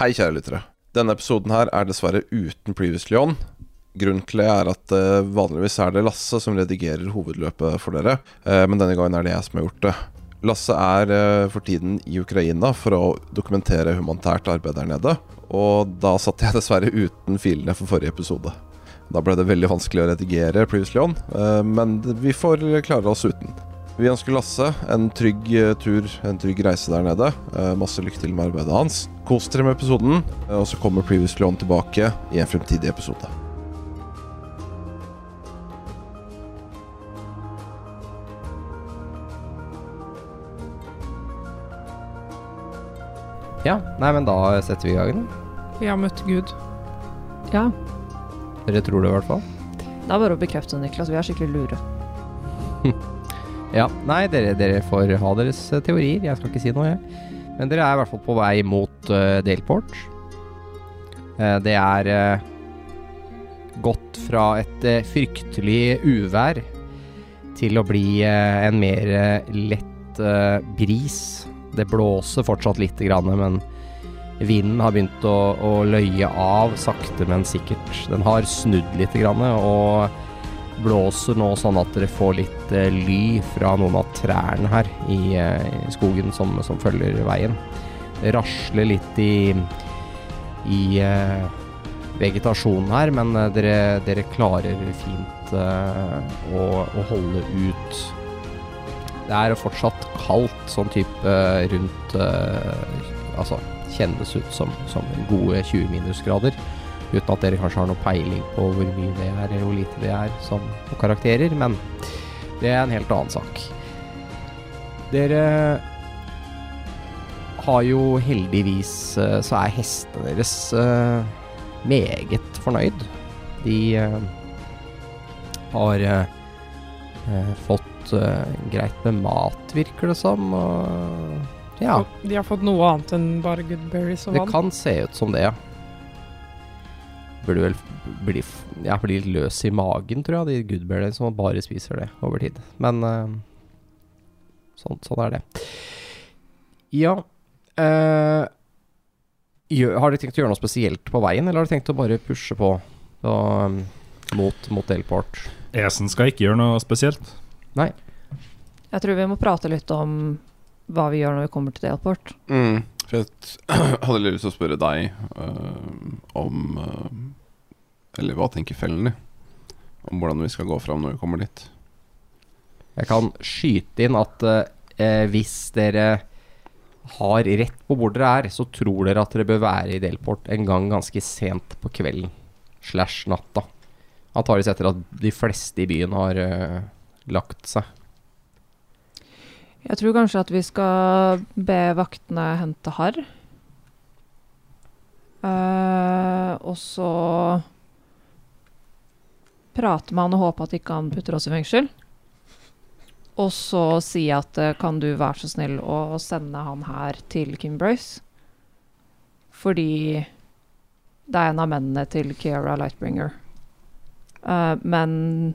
Hei, kjære lyttere. Denne episoden her er dessverre uten Previously On. Grunnen til det er at eh, vanligvis er det Lasse som redigerer hovedløpet for dere, eh, men denne gangen er det jeg som har gjort det. Lasse er eh, for tiden i Ukraina for å dokumentere humanitært arbeid der nede, og da satt jeg dessverre uten filene for forrige episode. Da ble det veldig vanskelig å redigere Previously On, eh, men vi får klare oss uten. Vi ønsker Lasse en trygg eh, tur, en trygg reise der nede. Eh, Masse lykke til med arbeidet hans. Kos dere med episoden, eh, og så kommer Previously On tilbake i en fremtidig episode. Ja, nei, men da setter vi i gang. Vi har møtt Gud. Ja, Dere tror det i hvert fall. det er bare å bekrefte, Niklas. Vi er skikkelig lure. Ja, nei, dere, dere får ha deres eh, teorier. Jeg skal ikke si noe, jeg. Men dere er i hvert fall på vei mot eh, Delport. Eh, det er eh, gått fra et eh, fryktelig uvær til å bli eh, en mer eh, lett eh, bris. Det blåser fortsatt lite grann, men vinden har begynt å, å løye av sakte, men sikkert. Den har snudd lite grann, og blåser nå sånn at dere får litt eh, ly fra noen av trærne her i, eh, i skogen som, som følger veien. Det rasler litt i, i eh, vegetasjonen her, men eh, dere, dere klarer fint eh, å, å holde ut. Det er fortsatt kaldt, sånn type eh, rundt eh, Altså, kjennes ut som, som gode 20 minusgrader. Uten at dere kanskje har noe peiling på hvor mye det er, eller hvor lite det er som på karakterer, men det er en helt annen sak. Dere har jo heldigvis eh, Så er hestene deres eh, meget fornøyd. De eh, har eh, eh, fått eh, greit med mat, virker det som. Og ja, Og De har fått noe annet enn bare good berries og det vann. kan se ut som det, ja. Burde vel bli, f- ja, bli litt løs i magen, tror jeg, de goodberryene som bare spiser det over tid. Men eh, sånn, sånn er det. Ja eh, gjør, Har dere tenkt å gjøre noe spesielt på veien, eller har dere tenkt å bare pushe på og, eh, mot, mot Delport? Esen skal ikke gjøre noe spesielt. Jeg tror vi må prate litt om hva vi gjør når vi kommer til Delport. Mm, for jeg t- hadde litt lyst til å spørre deg eh, om eh, Eller hva tenker fellen din? Om hvordan vi skal gå fram når vi kommer dit. Jeg kan skyte inn at eh, hvis dere har rett på hvor dere er, så tror dere at dere bør være i Delport en gang ganske sent på kvelden slash natta. Antakeligvis etter at de fleste i byen har eh, lagt seg. Jeg tror kanskje at vi skal be vaktene hente harr. Eh, og så prate med han og håpe at ikke han putter oss i fengsel. Og så si at eh, kan du være så snill å sende han her til Kimbroise? Fordi det er en av mennene til Kiara Lightbringer. Eh, men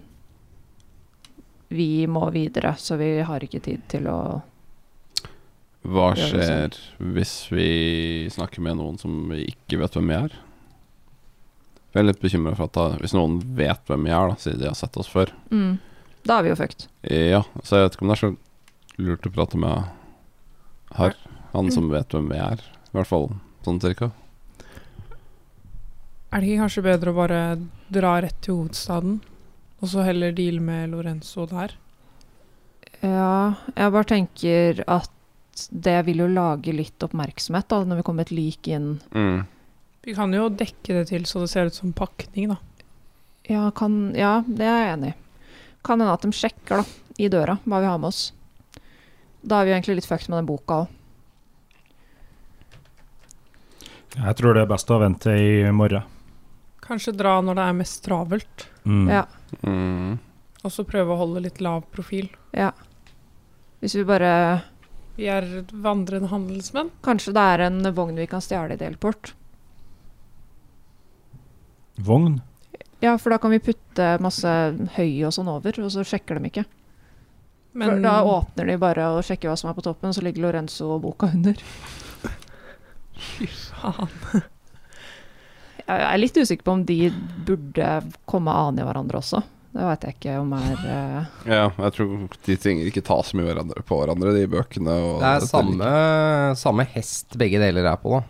vi må videre, så vi har ikke tid til å Hva Ja, det er skjer hvis vi snakker med noen som vi ikke vet hvem vi er? Jeg er litt bekymra for at da, hvis noen vet hvem vi er, da, siden de har sett oss før Mm. Da er vi jo fucked. Ja, så jeg vet ikke om det er så lurt å prate med Harr. Han Mm. som vet hvem vi er. I hvert fall sånn cirka. Er det ikke kanskje bedre å bare dra rett til hovedstaden, og så heller deale med Lorenzo der? Ja, jeg bare tenker at det vil jo lage litt oppmerksomhet da, når vi kommer et lik inn. Mm. Vi kan jo dekke det til så det ser ut som pakning, da. Ja, kan, ja det er jeg enig i. Kan hende at de sjekker da, i døra hva vi har med oss. Da er vi jo egentlig litt fucked med den boka òg. Jeg tror det er best å vente i morgen. Kanskje dra når det er mest travelt, Mm. Ja. Mm. og så prøve å holde litt lav profil. Hvis vi bare Vi er vandrende handelsmenn. Kanskje det er en vogn vi kan stjele i Delport? Vogn? Ja, for da kan vi putte masse høy og sånn over, og så sjekker de ikke. for Men da åpner de bare og sjekker hva som er på toppen, så ligger Lorenzo og boka under. Fy faen. Jeg er litt usikker på om de burde komme ane i hverandre også. Det veit jeg ikke om er eh, Ja, jeg tror de trenger ikke ta så mye hverandre på hverandre, de bøkene. Og Det er dette samme, samme hest begge deler er på, da.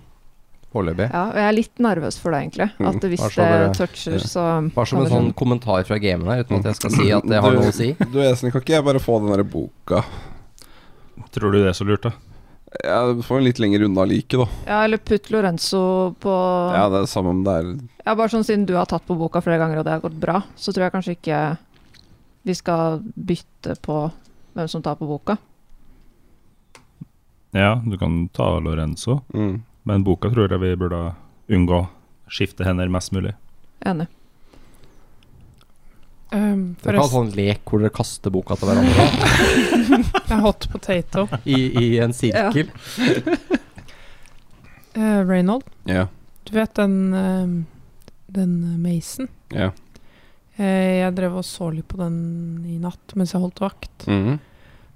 Foreløpig. Ja, og jeg er litt nervøs for det, egentlig. At hvis Bare så det Mm, dere- toucher, så Bare som kan en det sånn skje. kommentar fra gamen her, uten at jeg skal si at det har noe å si. Mm. Du Esen, kan ikke jeg bare få den der boka? Tror du det er så lurt, da? Jeg får den litt lenger unna liket, da. Ja, eller putt Lorenzo på Ja, ja. det er samme om det er bare sånn siden du har tatt på boka flere ganger, og det har gått bra, så tror jeg kanskje ikke vi skal bytte på hvem som tar på boka. Ja, du kan ta Lorenzo, mm. men boka tror jeg vi burde unngå. Skifte hender mest mulig. Enig. Um, Dere kan ha forresten, sånn lek hvor dere kaster boka til hverandre jeg er hot potato. i, i en sirkel. Eh, Reynold, Ja, du vet den, eh, den Mason? ja. Eh, jeg drev og så litt på den i natt mens jeg holdt vakt. Mhm.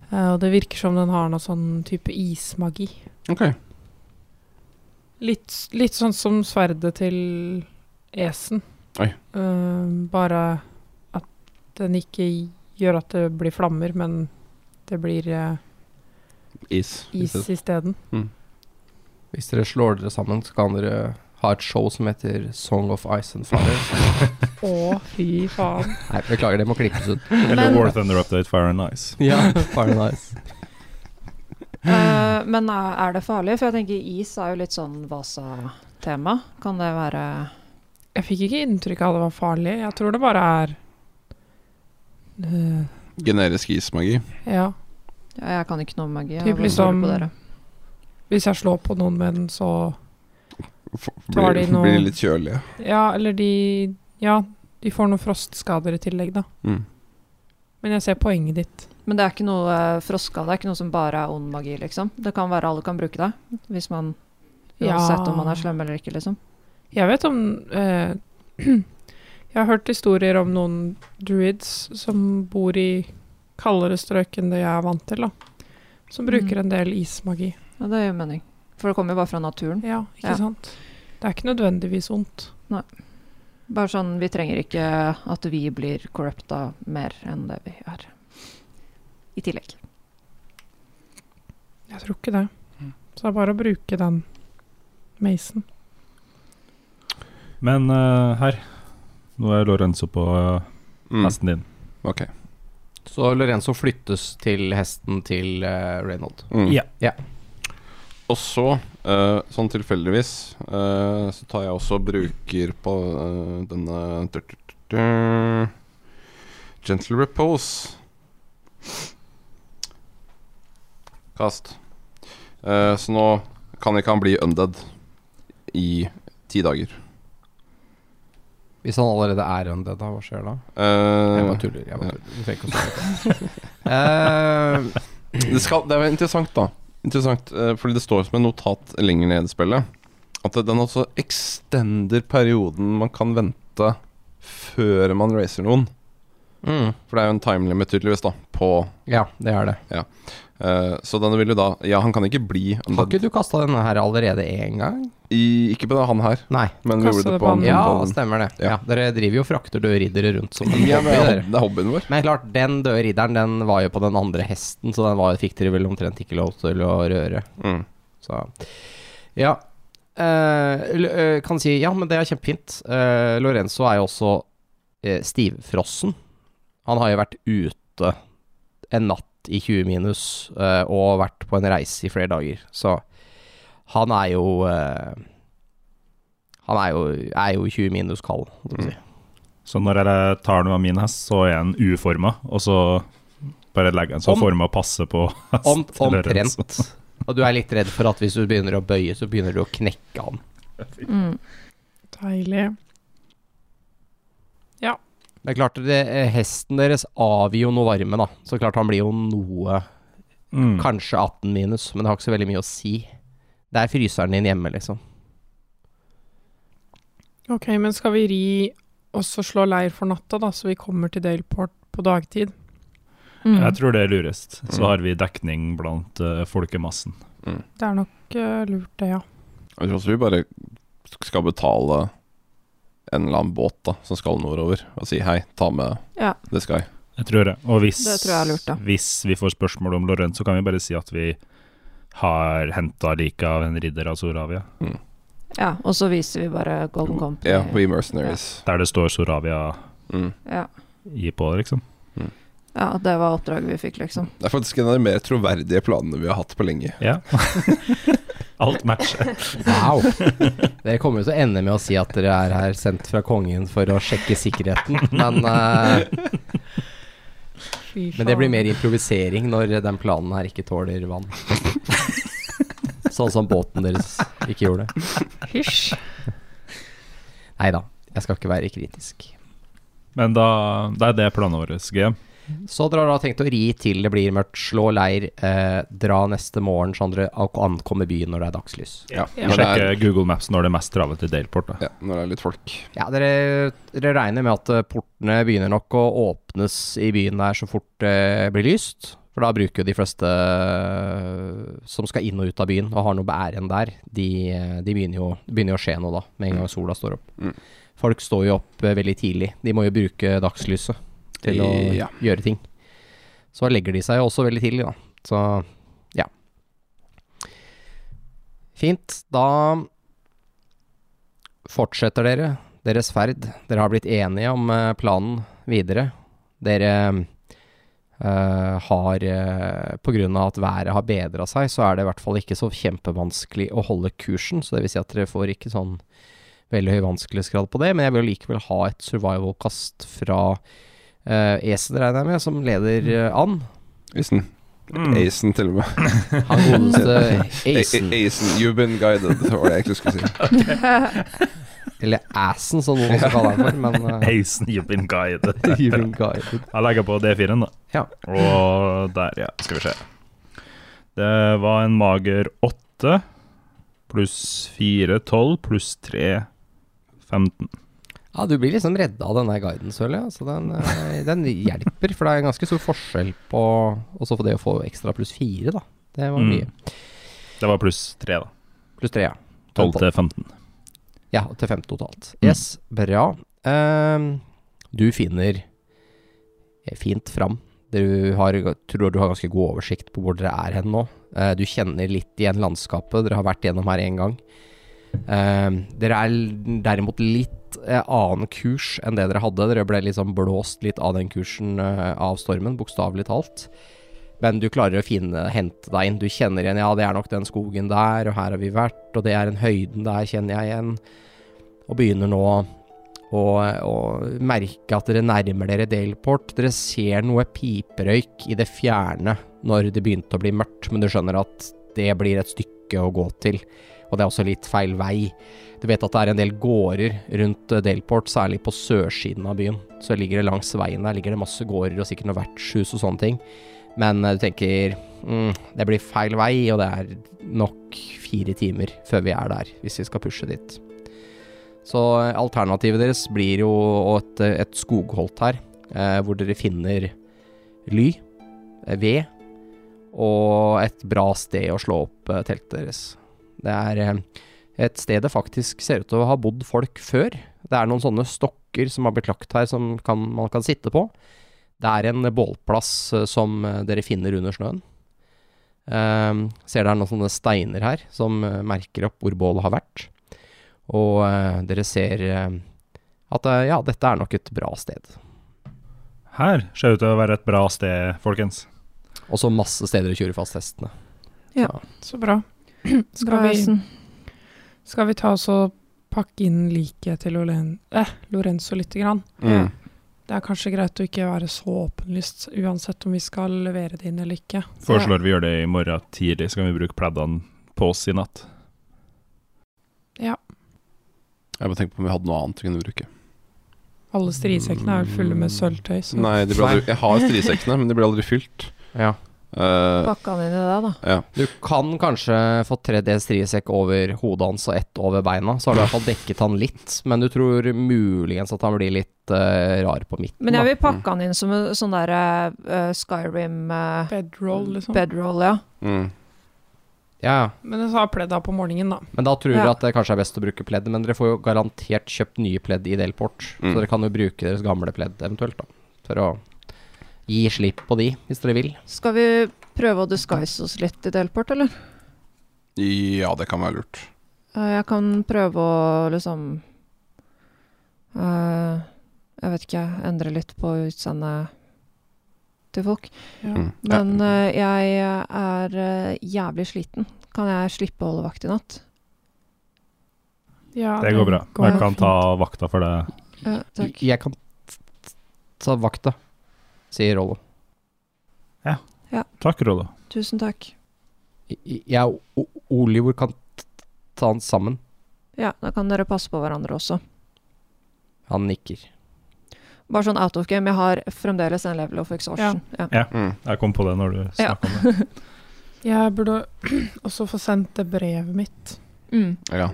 Eh, og det virker som den har noe sånn type ismagi. Ok. Litt, s- litt sånn som sverdet til Esen. Oi. Eh, bare at den ikke gjør at det blir flammer, men det blir eh, Is. is isteden. Hvis dere slår dere sammen, så kan dere ha et show som heter Song of Ice and Fire. Å, fy faen. Nei, beklager, det må klippes ut. Eller Men- War Thunder Update Fire and Ice. Ja, Fire and Ice. Mm. Eh, men er er det farlig? For jeg tenker is er jo litt sånn Vasa-tema. Kan det være Jeg fikk ikke inntrykk av at det var farlig. Jeg tror det bare er eh, Generisk ismagi. Ja. ja, Jeg kan ikke noe om magi. jeg Typ bare stoler liksom- på dere. Hvis jeg slår på noen med den, så F- Blir, Tar de noe- blir litt kjølige. Ja, eller de Ja, de får noen frostskader i tillegg, da. Mm. Men jeg ser poenget ditt. Men det er ikke noe eh, froska, det er ikke noe som bare er ond magi, liksom. Det kan være alle kan bruke det, hvis man Ja. Uansett om man er slem eller ikke, liksom. Jeg vet om eh, Jeg har hørt historier om noen druids som bor i kaldere strøk enn det jeg er vant til, da. Som Mm. bruker en del ismagi. Ja, det gir mening. For det kommer jo bare fra naturen. Ja, ikke Ja. sant? Det er ikke nødvendigvis ondt. Bare sånn, vi trenger ikke at vi blir corrupta mer enn det vi er. I tillegg. Jeg tror ikke det. Mm. Så det er bare å bruke den mason. Men eh, her Nå er Lorenzo på eh, Mm. hesten din. Ok. Så Lorenzo flyttes til hesten til eh, Reynold. Mm. Ja. Ja. Og så, eh, sånn tilfeldigvis, eh, så tar jeg også og bruker på eh, denne tut, tut, tut, tut. Gentle repose. Kast. Eh, så nå kan ikke han bli undead i ti dager. Hvis han allerede er undead, da, hva skjer da? Jeg Eh, bare tuller. Jeg bare tuller. Du trenger ikke å svare på det. Eh, Det, skal, det er jo interessant, da. Interessant, eh, fordi det står som en notat lenger ned i spillet at den også extender perioden man kan vente før man racer noen. Eh, mm, For det er jo en time limit, tydeligvis, da, på ja, det er det. eh, Så denne vil jo da Ja, han kan ikke bli Har undead. ikke du kasta denne her allerede én gang? I, ikke på det, han her, Nei. men vi Kaste gjorde det det på på han. Mm, Ja, på han. stemmer det. Ja. Ja, Dere driver jo og frakter døde riddere rundt som en Ja, men hobby, det er dere. hob- det er hobbyen vår. Men klart, den døde ridderen den var jo på den andre hesten, så den var, fikk dere vel omtrent ikke lov til å røre. Mm. Så ja. Eh, l- eh, kan si ja, men det er kjempefint. Eh, Lorenzo er jo også eh, stivfrossen. Han har jo vært ute en natt i 20 minus eh, og vært på en reise i flere dager, så han er jo eh, Han er jo, er jo 20 minus kald, holdt jeg på å si. Så når jeg tar noe av min hest, så er den uforma, og så bare legger jeg den så Om- forma passer på hest. Om, til Lorenzo. omtrent. Og du er litt redd for at hvis du begynner å bøye, så begynner du å knekke han. Mm. Deilig. Det er klart, det, eh, hesten deres avgir jo noe varme, da. Så klart han blir jo noe Mm. Kanskje 18 minus, men det har ikke så veldig mye å si. Det er fryseren din hjemme, liksom. Ok, men skal vi ri og så slå leir for natta, da, så vi kommer til Daleport på dagtid? Mm. Jeg tror det er lurest. Så Mm. har vi dekning blant eh, folkemassen. Det er nok eh, lurt, det, ja. Jeg tror også vi bare skal betale en eller annen båt da som skal nordover, og si hei, ta med Ja. The Sky. Jeg tror det. Og hvis, Det tror jeg er lurt, da. hvis vi får spørsmål om Lorent, så kan vi bare si at vi har henta liket av en ridder av Soravia. Ja, og så viser vi bare Golden Company. Ja, we mercenaries. Der det står Soravia Mm. Ja. i på, liksom. ja, det var oppdraget vi fikk, liksom. Det er faktisk en av de mer troverdige planene vi har hatt på lenge. Ja. Alt matcher. Wow. Dere kommer jo til å ende med å si at dere er her sendt fra kongen for å sjekke sikkerheten, men, eh, men det blir mer improvisering når den planen her ikke tåler vann. Sånn som båten deres ikke gjorde. Hysj. Nei da, jeg skal ikke være kritisk. Men da, da er det planen vår, GM. Så dere har da tenkt å ri til det blir mørkt, slå leir, eh, dra neste morgen sånn dere ak- ankommer byen når det er dagslys. Ja, Ja. Når, det er, Sjekke Google Maps når det er mest travelt i Daleport. Da. ja, når det er litt folk. Ja, dere, dere regner med at eh, portene begynner nok å åpnes i byen der så fort det blir lyst. For da bruker jo de fleste eh, som skal inn og ut av byen og har noe på æren der, de, eh, de begynner, jo, det begynner jo å skje noe da, med en gang sola står opp. Mm. Folk står jo opp eh, veldig tidlig. De må jo bruke dagslyset til å Ja. gjøre ting. Så legger de seg jo også veldig tidlig, da. Så ja. Fint. Da fortsetter dere deres ferd. Dere har blitt enige om eh, planen videre. Dere eh, har eh, På grunn av at været har bedra seg, så er det i hvert fall ikke så kjempevanskelig å holde kursen. Så det vil si at dere får ikke sånn veldig høy vanskelighetsgrad på det. Men jeg vil likevel ha et survival-kast fra uh, Esen, regner jeg med, som leder eh, an. Isen. Mm. Aisen, til og med. Han godeste Asen, Aisen, you've been guided, var det jeg egentlig skulle si. eller Assen som noen også kaller han for, men eh, Hazen, you've been guided. you've been guided. Jeg legger på D4-en, da. Ja. Og der, ja. Skal vi se. Det var en mager 8 pluss 4, 12 pluss 3, 15. Ja, du blir liksom redda av denne guiden, føler jeg. Så den, eh, den hjelper, for det er en ganske stor forskjell på også for det å få ekstra pluss fire, da. Det Mm. var mye. Det var pluss 3, da. Pluss tre, ja. 12 til 15. Ja, til 15 totalt. Mm. Yes, bra. Ehm, du finner eh, fint fram. Du har, tror du har ganske god oversikt på hvor dere er hen nå. Eh, du kjenner litt igjen landskapet. Dere har vært gjennom her én gang. Ehm, dere er l- derimot litt eh, annen kurs enn det dere hadde. Dere ble liksom blåst litt av den kursen eh, av stormen, bokstavelig talt. Men du klarer å finne, hente deg inn. Du kjenner igjen ja, det er nok den skogen der, og her har vi vært, og det er den høyden der, kjenner jeg igjen og begynner nå å, å merke at dere nærmer dere Daleport. Dere ser noe piperøyk i det fjerne når det begynte å bli mørkt, men du skjønner at det blir et stykke å gå til. Og det er også litt feil vei. Du vet at det er en del gårder rundt eh, Daleport, særlig på sørsiden av byen. Så ligger det langs veien der ligger det masse gårder og sikkert noe vertshus og sånne ting. Men eh, du tenker mm, det blir feil vei, og det er nok fire timer før vi er der, hvis vi skal pushe dit. Så eh, alternativet deres blir jo et, et skogholt her, eh, hvor dere finner ly, eh, ved og et bra sted å slå opp eh, teltet deres. Det er eh, et sted det faktisk ser ut til å ha bodd folk før. Det er noen sånne stokker som har blitt lagt her som kan, man kan sitte på. Det er en bålplass eh, som eh, dere finner under snøen. Eh, ser det er noen sånne steiner her som eh, merker opp hvor bålet har vært. Og eh, dere ser eh, at eh, ja, dette er nok et bra sted. Her ser ut til å være et bra sted, folkens. Og så masse steder å kjøre fast hestene. Så bra. Skal vi, skal vi ta oss og pakke inn liket til Olen, eh, Lorenzo lite grann? Mm. Det er kanskje greit å ikke være så åpenlyst, uansett om vi skal levere det inn eller ikke. Foreslår vi gjør det i morgen tidlig, så kan vi bruke pleddene på oss i natt. Jeg bare tenker på om vi hadde noe annet vi kunne bruke. Alle strisekkene er vel fulle med sølvtøy, så Nei, de ble aldri, jeg har strisekkene, men de ble aldri fylt. Ja. Eh, Pakka han inn i det, da. Du kan kanskje få 3D striesekk over hodet hans og ett over beina, så har du i hvert fall dekket han litt, men du tror muligens at han blir litt eh, rar på midten. Men jeg da. vil pakke han inn som en sånn derre Skyrim eh, bedroll, liksom. Eh, bedroll, ja. mm. Ja, ja. Men jeg har pledd av på morgenen, da. Men da tror dere Ja. at det kanskje er best å bruke pledd, men dere får jo garantert kjøpt nye pledd i Delport. Mm. Så dere kan jo bruke deres gamle pledd eventuelt, da. For å gi slipp på de, hvis dere vil. Skal vi prøve å disguise oss litt i Delport, eller? Ja, det kan være lurt. Eh, Jeg kan prøve å liksom eh, Jeg vet ikke, endre litt på utseendet til folk. Ja. Mm. Ja. Men eh, jeg er eh, jævlig sliten. Kan jeg slippe å holde vakt i natt? Ja, Det går bra. går Jeg kan fint. ta vakta for det. Ja, Eh, takk. Jeg kan t- t- ta vakta, sier Rollo. Takk, Rollo. Tusen takk. I- i- Jeg og O- Olivor kan t- t- ta han sammen. Ja, da kan dere passe på hverandre også. Han nikker. Bare sånn out of game, jeg har fremdeles en level of exhaustion. Ja. Mm. Jeg kom på det når du Ja. snakka om det. Jeg burde også få sendt det brevet mitt. Mm. Ja.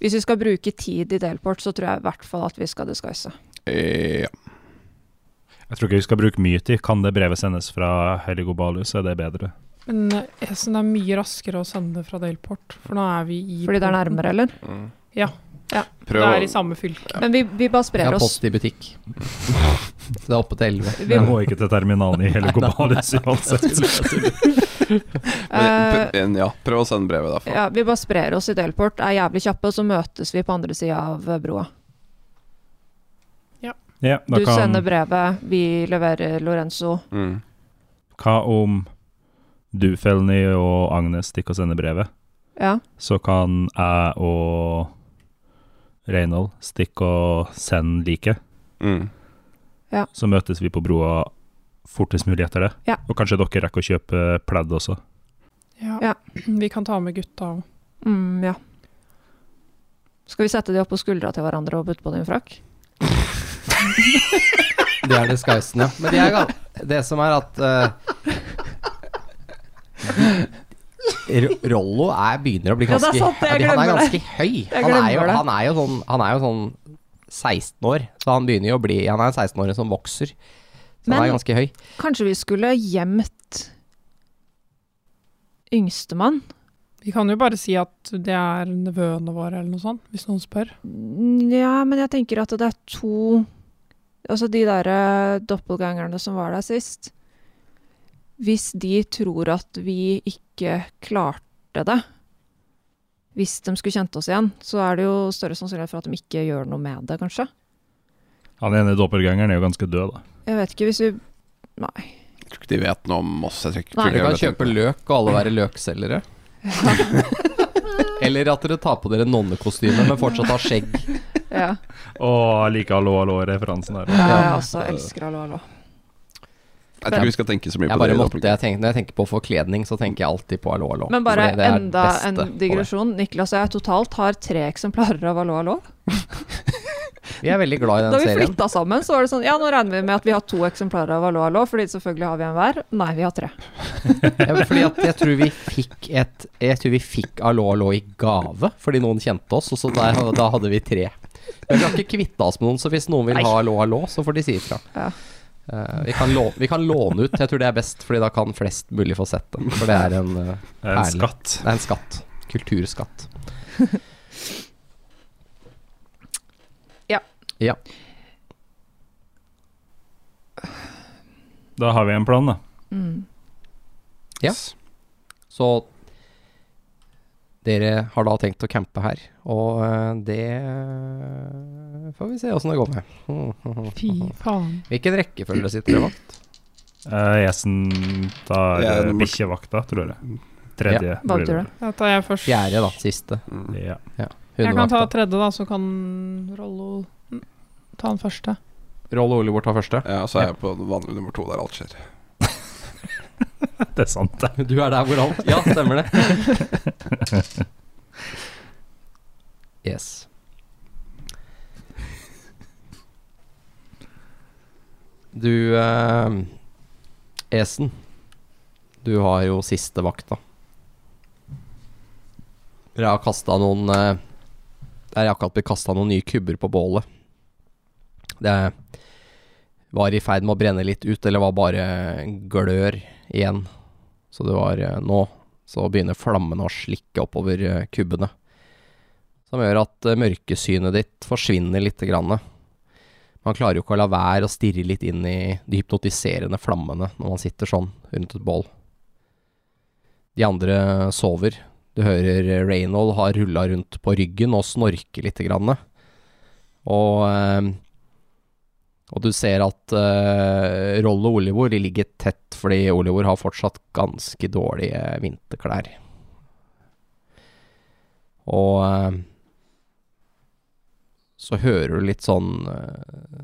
Hvis vi skal bruke tid i Delport, så tror jeg i hvert fall at vi skal disguise. Eh, ja. Jeg tror ikke vi skal bruke mye tid. Kan det brevet sendes fra Heligo Balus, er det bedre? Men eh, jeg synes det er mye raskere å sende det fra Delport, for nå er vi i Fordi det er porten. nærmere, eller? Mm. Ja. Ja. Prøv Det å er i samme fylke. Men vi, vi bare Jeg sprer har oss. post i butikk. Så det er oppe til elleve. Vi, Jeg må ikke til terminalen i Heligo Balus uansett. eh, Men- men Ja, prøv å sende brevet derfra. ja, vi bare sprer oss i Delport, er jævlig kjappe, og så møtes vi på andre sida av eh, broa. Ja, da Du kan sender brevet, vi leverer Lorenzo. Mm. Hva om du, Felny, og Agnes stikker og sender brevet? Ja. så kan jeg og Reynold stikke og sende liket. Mm. Så møtes vi på broa fortest mulig etter det. Ja. Og kanskje dere rekker å kjøpe pledd også. Ja. Ja. Vi kan ta med gutta òg. Mm, ja. Skal vi sette de opp på skuldra til hverandre og putte på din frakk? Det er disguisen, ja. Men det, er, gal- det som er at eh, Ro- Rollo er, begynner å bli Ja, det er ganske sant, fordi jeg Han er glemmer det. ganske høy. Jeg Han er, jo, glemmer det. han, er jo sånn, han er jo sånn 16 år, så han begynner jo å bli Han er en 16-åring som vokser. Så han Men- er ganske høy. Kanskje vi skulle gjemt yngstemann? Vi kan jo bare si at det er nevøene våre, eller noe sånt, hvis noen spør. Nja, men jeg tenker at det er to Altså de der eh, doppelgangerne som var der sist. Hvis de tror at vi ikke klarte det, hvis de skulle kjent oss igjen, så er det jo større sannsynlighet for at de ikke gjør noe med det, kanskje. Han ene doppelgangeren er jo ganske død, da. Jeg vet ikke, hvis vi Nei. Jeg tror ikke de vet noe om oss. Jeg tror ikke, Nei, tror Dere kan ikke jeg kjøpe løk og alle være løkselgere. Eller at dere tar på dere nonnekostyme, men fortsatt har skjegg. Ja. Å, jeg liker hallo, hallo-referansen der. Ja, jeg også elsker hallo, hallo. vet. Jeg tror ikke vi skal tenke så mye Jeg på bare det. måtte, jeg tenker, når jeg tenker på forkledning, så tenker jeg alltid på hallo, hallo. Men bare Fordi det er det enda en beste på det. digresjon. Niklas og jeg totalt har tre eksemplarer av Hallo, hallo. Vi er veldig glad i Da den vi serien. flytta sammen, så var det sånn Ja, nå regner vi med at vi har to eksemplarer av Hallo, hallo, fordi selvfølgelig har vi en hver. Nei, vi har tre. Ja, men fordi at jeg tror vi fikk et Jeg tror vi fikk Allo Allo i gave fordi noen kjente oss, og så der, da hadde vi tre. Men vi har ikke kvitta oss med noen, så hvis noen vil ha Allo Allo, så får de si ifra. Ja. Eh, vi, kan lå- vi kan låne ut, jeg tror det er best, Fordi da kan flest mulig få sett det. For det er en, eh, Det er en Herlig. skatt. det er en skatt. Kulturskatt. Ja. Ja. Da har vi en plan, da. Mm. Ja. Så dere har da tenkt å campe her, og eh, det får vi se åssen det går med. Fy faen. Hvilken rekkefølge sitter dere vakt? Eh, Jesen tar Ja, eh, nummer- bikkjevakta, tror jeg. Tredje. Hva blir betyr det? Da tar jeg først. Fjerde, da. Siste. Mm. Ja. Jeg kan ta Hundevakta. tredje, da, så kan Rollo mm, ta den første. Roll og Olivor tar første. Ja, så er jeg på vanlig nummer to der alt skjer. Det er sant, det. Du er der hvor alt Ja, stemmer det. Yes. Du eh, Esen, du har jo siste vakta. Dere har kasta noen eh, Det er akkurat blitt kasta noen nye kubber på bålet. Det var i ferd med å brenne litt ut, eller var bare glør igjen. Så det var eh, nå Så begynner flammene å slikke oppover eh, kubbene. Som gjør at eh, mørkesynet ditt forsvinner lite grann. Man klarer jo ikke å la være å stirre litt inn i de hypnotiserende flammene når man sitter sånn rundt et bål. De andre sover. Du hører eh, Reynold har rulla rundt på ryggen og snorker lite grann. Og eh, og du ser at eh, Roll og Olivor de ligger tett, fordi Olivor har fortsatt ganske dårlige vinterklær. Og eh, så hører du litt sånn eh,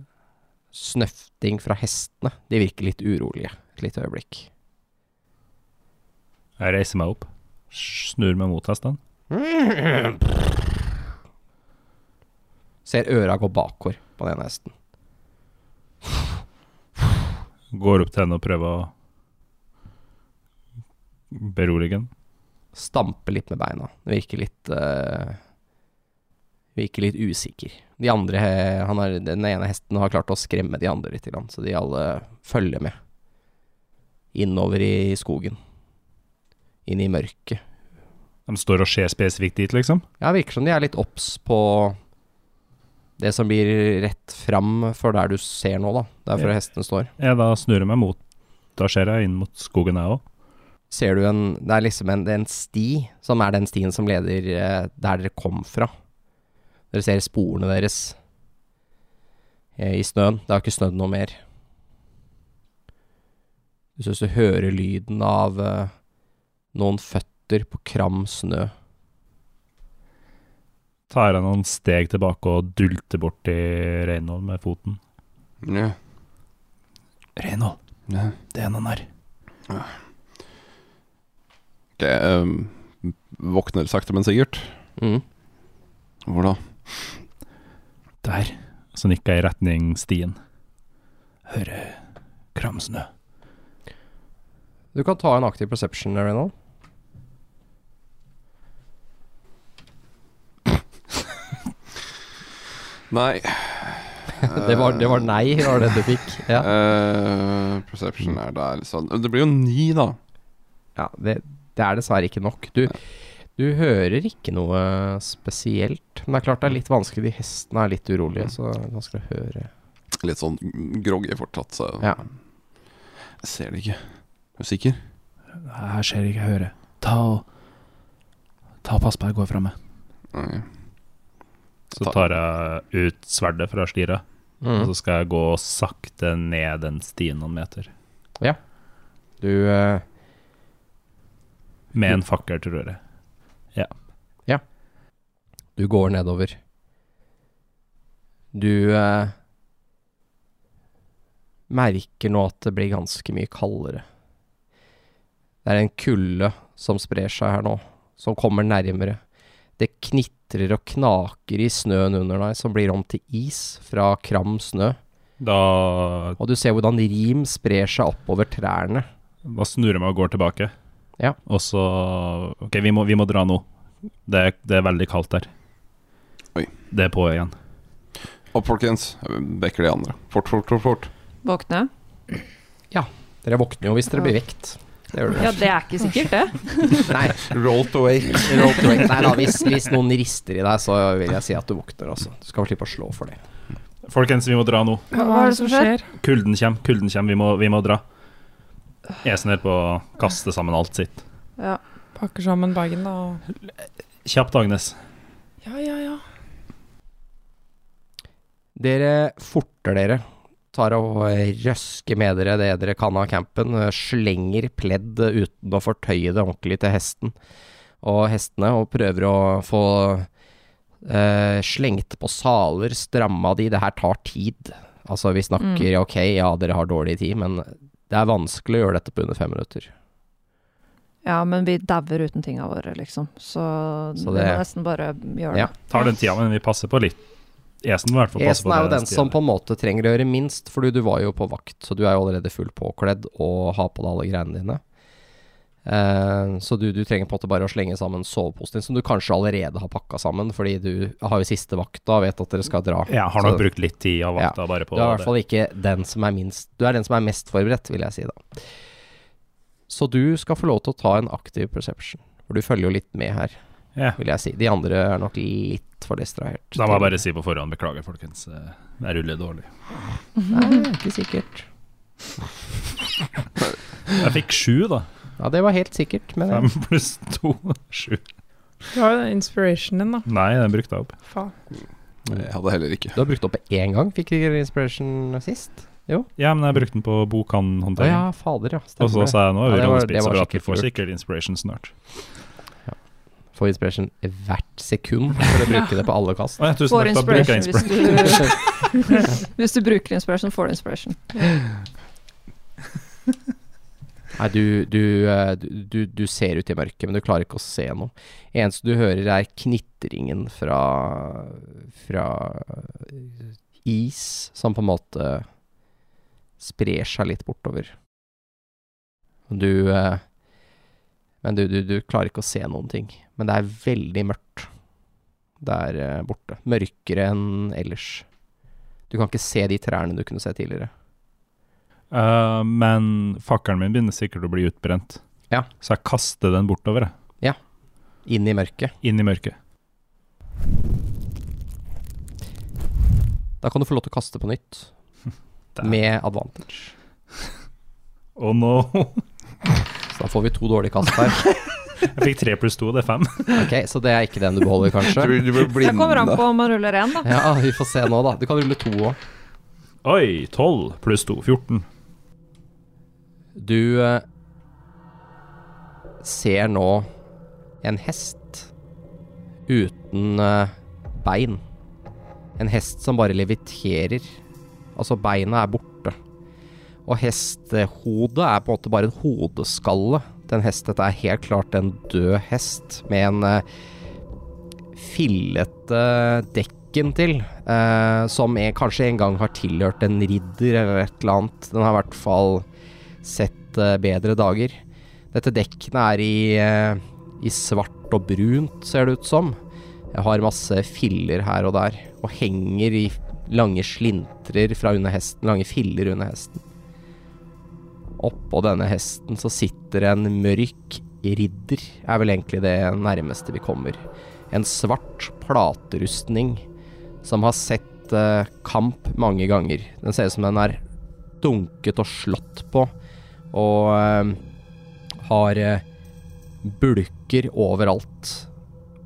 snøfting fra hestene. De virker litt urolige et lite øyeblikk. Jeg reiser meg opp, snur meg mot hesten. Ser øra gå bakover på den ene hesten. Går opp til henne og prøver å berolige henne. Stamper litt med beina. Virker litt eh, Virker litt usikker. De andre, he- han har, den ene hesten har klart å skremme de andre litt, så de alle følger med. Innover i skogen. Inn i mørket. De står og ser spesifikt dit, liksom. Ja, virker som de er litt obs på det som blir rett fram for der du ser nå, da. Der hvor Ja. hestene står. Jeg da snur jeg meg mot Da ser jeg inn mot skogen, jeg òg. ser du en Det er liksom en, det er en sti som er den stien som leder eh, der dere kom fra. Dere ser sporene deres eh, i snøen. Det har ikke snødd noe mer. Du syns du hører lyden av eh, noen føtter på kram snø. Tar jeg noen steg tilbake og dulter borti Reynold med foten. Ja. Reynold, Ja. det er noen her. Ok, ehm, våkner sakte, men sikkert. Mm. Hvor da? Der. Så nikker jeg i retning stien. Hører kramsnø. Du kan ta en aktiv perception, Reynold. Nei. Det var, det var nei, var det du fikk. Ja, Eh, perception er der, sånn. Det blir jo ni, da. ja det, det er dessverre ikke nok. Du, du hører ikke noe spesielt. Men det er klart det er litt vanskelig. De hestene er litt urolige, så det er vanskelig å høre. Litt sånn groggy fortsatt, så Ja. Jeg ser det ikke. Er du sikker? Her ser jeg ikke jeg hører. Ta og Ta og pass på jeg går fra meg. Nei. Så tar jeg ut sverdet fra slira, og Mm. så skal jeg gå sakte ned den stien noen meter. Du eh, Mm. Med en fakkel, tror jeg. Du går nedover. Du eh, merker nå at det blir ganske mye kaldere. Det er en kulde som sprer seg her nå, som kommer nærmere. Det knitrer og knaker i snøen under deg, som blir om til is fra kram snø. Da, Og du ser hvordan rim sprer seg oppover trærne. da snur jeg meg og går tilbake. Ja. Og så OK, vi må, vi må dra nå. Det, er- det er veldig kaldt der. Oi. Det er på igjen. Opp, folkens. Vekker de andre. Fort, fort, fort. fort. Våkne? Dere våkner jo hvis dere blir vekt. Det gjør dere. Ja, det er ikke sikkert, det. Nei, Roll to wake. Roll to wake. Nei da, hvis, hvis noen rister i deg, så vil jeg si at du våkner, altså. Du skal slippe å slå for det. Folkens, vi må dra nå. Hva er det som skjer? Kulden kommer, kulden kommer. Vi må, vi må dra. Esen holder på å kaste sammen alt sitt. Ja. Pakker sammen bagen, da. og- Kjapt, Agnes. Ja, ja, ja. Dere forter dere. Tar og røsker med dere det dere kan av campen. eh, Slenger pledd uten å fortøye det ordentlig til hesten og hestene, og prøver å få eh, slengt på saler, stramma de. Det her tar tid. Altså, vi snakker ok, ja, dere har dårlig tid, men det er vanskelig å gjøre dette på under fem minutter. ja, men vi dauer uten tinga våre, liksom. Så, Så vi det- må nesten bare gjøre Ja. det. Tar den tida, men vi passer på litt. Esen må i hvert fall passe Esen på er det jo den tida. som på en måte trenger å gjøre minst, fordi du var jo på vakt, så du er jo allerede full påkledd og har på deg alle greiene dine. Eh, så du, du trenger på en måte bare å slenge sammen soveposen din, som du kanskje allerede har pakka sammen, fordi du har jo siste vakta og vet at dere skal dra. Ja, har Så- nok brukt litt tid av vakta bare Du på er i det. hvert fall ikke den som er minst Du er den som er mest forberedt, vil jeg si da. Så du skal få lov til å ta en aktiv perception. For du følger jo litt med her, Ja. vil jeg si. De andre er nok litt for distrahert. Da må jeg bare si på forhånd beklager, folkens. eh, Jeg ruller dårlig. Nei, ikke sikkert. Jeg fikk sju, da. Ja, det var helt sikkert, men Fem pluss to. Sju. Du har jo den inspirationen din, da. Nei, den brukte jeg opp. Faen. Jeg hadde heller ikke. du har brukt opp én gang. Fikk ikke inspiration sist? Ja, men jeg brukte den Å ja, på bokhandhåndtering. fader, ja. Og så Stemmer det. sa jeg nå Ja, er vi det var- det rollespill, var så bra at vi sikkert får lurt. sikkert inspiration snart. Får inspiration hvert sekund for å bruke det på alle kast. Å ja, tusen Får takk, da bruker jeg inspiration inspiration. hvis du Hvis du bruker inspiration, får du inspiration. Nei, du, du, eh, du, du- du ser ut i mørket, men du klarer ikke å se noe. Eneste du hører, er knitringen fra, fra eh, is som på en måte sprer seg litt bortover. Og Du eh, Men du, du, du klarer ikke å se noen ting. Men det er veldig mørkt der eh, borte. Mørkere enn ellers. Du kan ikke se de trærne du kunne se tidligere. Eh, men fakkelen min begynner sikkert å bli utbrent. Ja. Så jeg kaster den bortover, jeg. Inn i mørket. Inn i mørket. Da kan du få lov til å kaste på nytt. Der. Med advantage. Å Oh, no! Så da får vi to dårlige kast her. Jeg fikk tre pluss to, det er fem. Ok, Så det er ikke den du beholder, Du, kanskje? blir- du blir Det kommer an blinda. på om man ruller én, da. Ja, vi får se nå, da. Du kan rulle to òg. Oi! Tolv pluss to. 14. Du eh, ser nå en hest uten eh, bein. En hest som bare leviterer. Altså, beina er borte. Og hestehodet er på en måte bare en hodeskalle til en hest. Dette er helt klart en død hest med en eh, fillete dekken til, eh, som er, kanskje en gang har tilhørt en ridder eller et eller annet. Den har i hvert fall sett eh, bedre dager. Dette dekkene er i, eh, i svart og brunt, ser det ut som. Jeg har masse filler her og der, og henger i lange slintrer fra under hesten, lange filler under hesten. Oppå denne hesten så sitter en mørk ridder, er vel egentlig det nærmeste vi kommer. En svart platerustning som har sett eh, kamp mange ganger. Den ser ut som den er dunket og slått på, og eh, har eh, bulker overalt.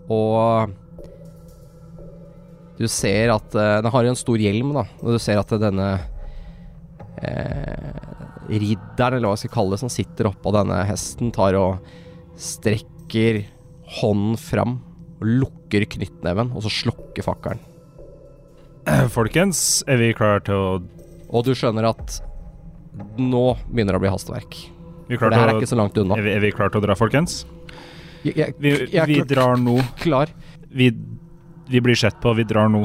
Og du ser at eh, Den har jo en stor hjelm, da, og du ser at denne eh, ridderen, eller hva jeg skal kalle det, som sitter oppå denne hesten, tar og strekker hånden fram og lukker knyttneven, og så slukker fakkelen. Eh, Folkens, er vi klare til å Og du skjønner at nå begynner det å bli hastverk. Vi er For klare det her er til å ikke så langt unna. er vi, er vi klare til å dra, folkens? Jeg, jeg, Vi, jeg vi er kl- drar nå. klar. Vi, vi blir sett på, vi drar nå.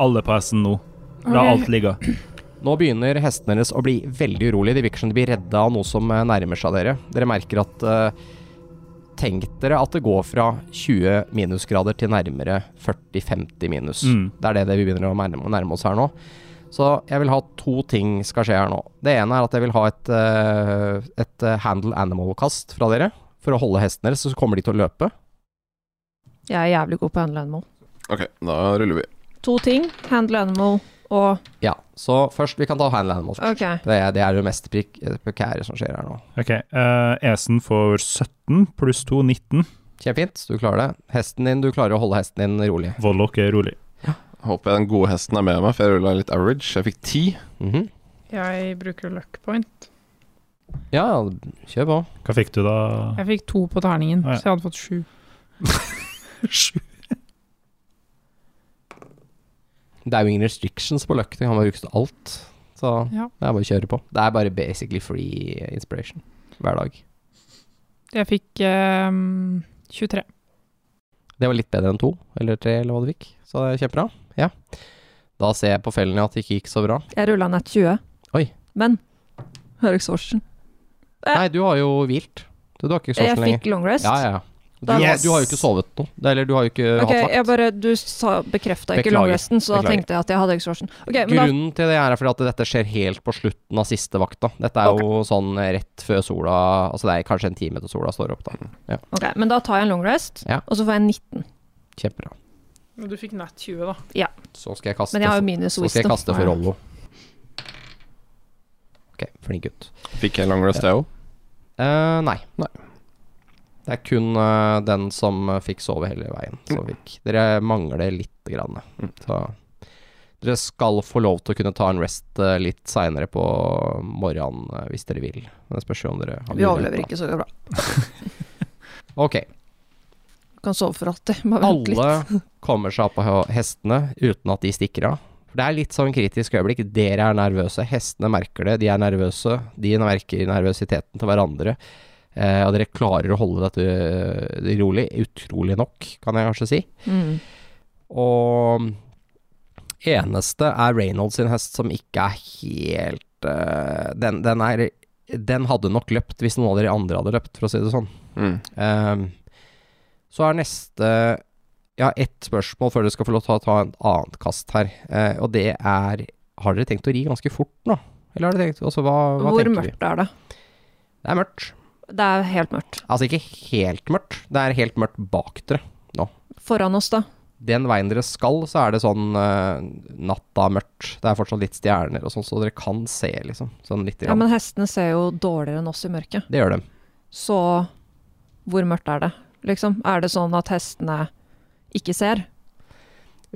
Alle på hesten nå. La Ok. alt ligge. Nå begynner hestene deres å bli veldig urolige. De virker som de blir redda av noe som eh, nærmer seg dere. Dere merker at eh, Tenk dere at det går fra 20 minusgrader til nærmere 40-50 minus. Mm. Det er det, det vi begynner å nærme, nærme oss her nå. Så jeg vil ha to ting skal skje her nå. Det ene er at jeg vil ha et, eh, et eh, handle animal-kast fra dere. For å holde hestene deres, så kommer de til å løpe. Jeg er jævlig god på handle animal. Ok, da ruller vi. To ting. Handle animal og Ja, så først Vi kan ta handle animal. først. OK. Det, er- det er det mest prik- prekære som skjer her nå. Ok, eh, Esen får 17 pluss 2, 19. Kjempefint, du klarer det. Hesten din, du klarer å holde hesten din rolig. Vollok er rolig. Håper jeg den gode hesten er med meg, for jeg rulla litt average. Jeg fikk ti. Mhm. Jeg bruker luck point. Ja, ja, kjør på. Hva fikk du da? Jeg fikk to på terningen, Ja. så jeg hadde fått sju. Sju. Det er jo ingen restrictions på luck, det kan man brukes til alt. Så Ja. det er bare å kjøre på. Det er bare basically free inspiration hver dag. Jeg fikk ehm, 23. Det var litt bedre enn to, eller tre, eller hva du fikk. Så det er kjempebra. Ja. Da ser jeg på fellene at det ikke gikk så bra. Jeg rulla nett 20. Oi. Men hører ikke sorsen. Eh. Nei, du har jo hvilt. Du, du har ikke Jeg sorsen lenger. fikk long rest. Ja, ja, ja. Du, har, du har jo ikke sovet noe. Det- Eller du har jo ikke Ok, jeg hatt vakt. bare, Du sa- bekrefta ikke Beklager. longresten, så da Beklager. tenkte jeg at jeg hadde ikke svarsen. Ok, men da, Grunnen til det er fordi at dette skjer helt på slutten av siste vakta. Dette er jo sånn rett før sola Altså det er kanskje en time til sola står opp, da. ok, men da tar jeg en longrest, Ja. og så får jeg 19. Kjempebra. Men du fikk nat 20, da. Så skal jeg kaste Men jeg har jo for- minus Så skal jeg wisdom. kaste for Rollo. Ok, flink gutt. Fikk jeg long rest, jeg òg? Eh, nei. Det er kun eh, den som eh, fikk sove hele veien, som fikk. Dere mangler lite grann. eh. Så dere skal få lov til å kunne ta en rest eh, litt seinere på morgenen eh, hvis dere vil. Men det spørs jo om dere har Vi overlever mulighet, ikke så bra. da. Ok. Kan sove for alltid. Bare vent litt. Alle kommer seg opp av hestene uten at de stikker av. For det er litt sånn kritisk øyeblikk. Dere er nervøse, hestene merker det, de er nervøse. De merker nervøsiteten til hverandre. Eh, og dere klarer å holde dette eh, rolig, utrolig nok, kan jeg kanskje si. Mm. Og eneste er Reynolds sin hest som ikke er helt eh, den, den, er, den hadde nok løpt hvis noen av dere andre hadde løpt, for å si det sånn. Mm. Ehm, så er neste Jeg har ett spørsmål før dere skal få lov til å ta ta et annet kast her. Eh, og det er Har dere tenkt å ri ganske fort nå? Eller har dere tenkt altså, hva, hva Hvor tenker vi? mørkt er det? Det er mørkt. Det er helt mørkt. Altså ikke helt mørkt. Det er helt mørkt bak dere. Foran oss, da? Den veien dere skal, så er det sånn eh, natta mørkt. Det er fortsatt litt stjerner og sånn, så dere kan se, liksom. Sånn litt. Ja, grann. Men hestene ser jo dårligere enn oss i mørket. Det gjør de. Så hvor mørkt er det? Liksom, Er det sånn at hestene ikke ser?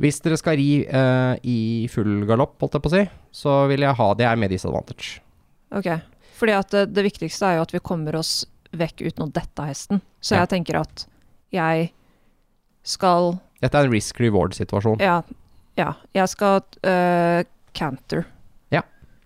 Hvis dere skal ri eh, i full galopp, holdt jeg på å si, så vil jeg ha det her med disadvantage. Ok. Fordi at eh, det, det viktigste er jo at vi kommer oss vekk uten å dette av hesten. Så Ja. jeg tenker at jeg skal Dette er en risk reward-situasjon. Ja, ja jeg skal øh, canter.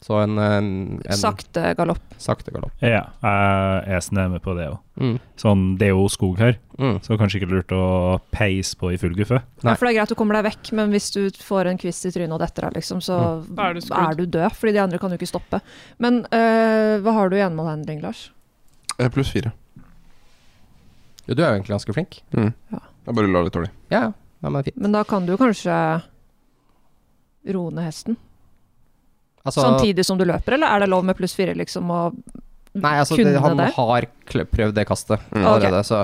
Så en, en, en Sakte galopp. sakte galopp. Ja, jeg Esen er med på det òg. Mm. Sånn, det er jo skog her, Mm. så kanskje ikke lurt å peise på i full guffe. Nei. Ja, for det er greit du kommer deg vekk, men hvis du får en kvist i trynet og detter av, liksom, så Mm. Da er er, du du screwed. død. Fordi de andre kan jo ikke stoppe. Men øh, hva har du i enmålhandling, Lars? Eh, Pluss fire. Jo, du er jo egentlig ganske flink. Mm. Jeg bare la litt dårlig. Ja, ja. Nei, men fint. Men da kan du kanskje roe ned hesten? Altså, Samtidig som du løper, eller er det lov med pluss fire, liksom? Og Nei, altså, kunne det, han det? har klø- prøvd det kastet Mm. allerede, så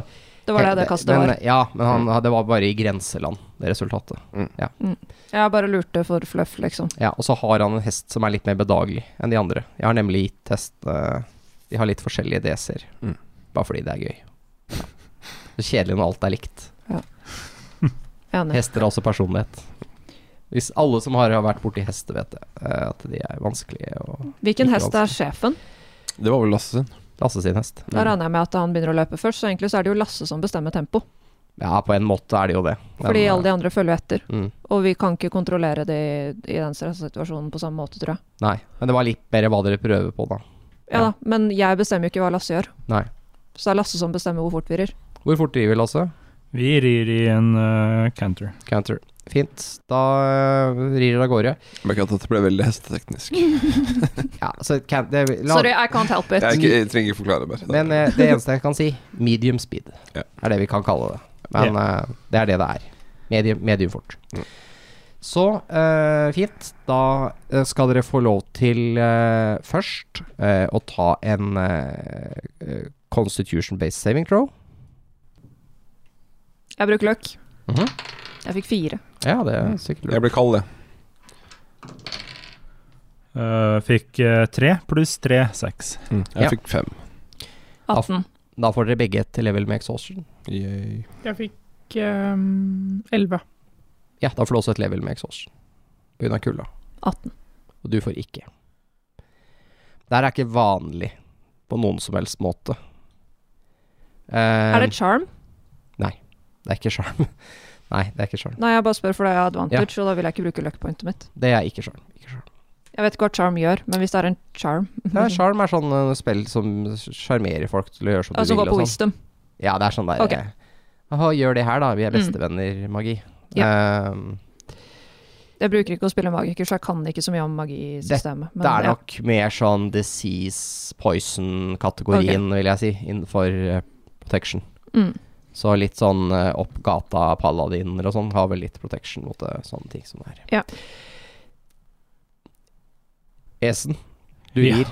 det var det det kastet Men- var. Ja, men han, det var bare i grenseland, det resultatet. Jeg bare lurte for fluff, liksom. Ja, og så har han en hest som er litt mer bedagelig enn de andre. Jeg har nemlig gitt hest eh, De har litt forskjellige DC-er, Mm. bare fordi det er gøy. Så kjedelig når alt er likt. Enig. Hester har også personlighet. Hvis alle som har vært borti hester, vet det, eh, at de er vanskelige å Hvilken Ikke hest er sjefen? Det var vel Lasse sin. Lasse sin hest. Da regner jeg med at han begynner å løpe først, så egentlig så er det jo Lasse som bestemmer tempo. Ja, på en måte er det jo det. eh, Fordi alle de andre følger etter. mm, Og vi kan ikke kontrollere det i, i den stressa situasjonen på samme måte, tror jeg. Nei, men det var litt mer hva dere prøver på, da. Ja Ja. da, men jeg bestemmer jo ikke hva Lasse gjør. Nei. Så det er Lasse som bestemmer hvor fort vi rir. Hvor fort driver vi, Lasse? Vi rir i en eh, canter. Canter. Fint. Da øh, rir dere av gårde. Jeg merker at dette ble veldig hesteteknisk. Mm. Ja, så can, det, la, Sorry, I can't help it. Jeg, er ikke, jeg trenger ikke forklare mer. Men eh, det eneste jeg kan si, medium speed Ja. er det vi kan kalle det. Men eh, det er det det er. Medium, medium fort. Så eh, fint. Da eh, skal dere få lov til eh, først eh, å ta en eh, eh, Constitution-based saving throw. Jeg bruker løk. Mhm. Jeg fikk fire. Ja, det er sikkert Jeg lurt. blir kald, jeg. Eh, fikk eh, tre pluss tre, seks. Jeg Ja. fikk fem. 18. Da får dere begge et level med exhaustion. Yay. Jeg fikk ehm, 11. Ja, da får du også et level med exhaustion. På grunn av kulda. 18. Og du får ikke. Det her er ikke vanlig på noen som helst måte. Eh, Er det charm? Det er ikke sjarm. Nei, det er ikke sjarm. Nei, jeg bare spør for det er advantage, og da vil jeg ikke bruke løkkpointet mitt. Det er ikke sjarm. Ikke sjarm. Jeg vet ikke hva charm gjør, men hvis det er en charm Det er Sjarm er sånn eh, spill som sjarmerer folk til å gjøre som Altså du gå vil. på og sånn. wisdom. Ja, det er sånn der Ok. Mm. eh, «Åh, Gjør det her, da. Vi er bestevenner-magi. Eh, Jeg bruker ikke å spille magiker, så jeg kan ikke så mye om magisystemet. men det er ja. nok mer sånn disease poison-kategorien, vil jeg si, innenfor eh, protection. Mm. Så litt sånn eh, opp gata paladiner og sånn har vel litt protection mot eh, sånne ting som det er. Ja. Esen, du Ja. gir.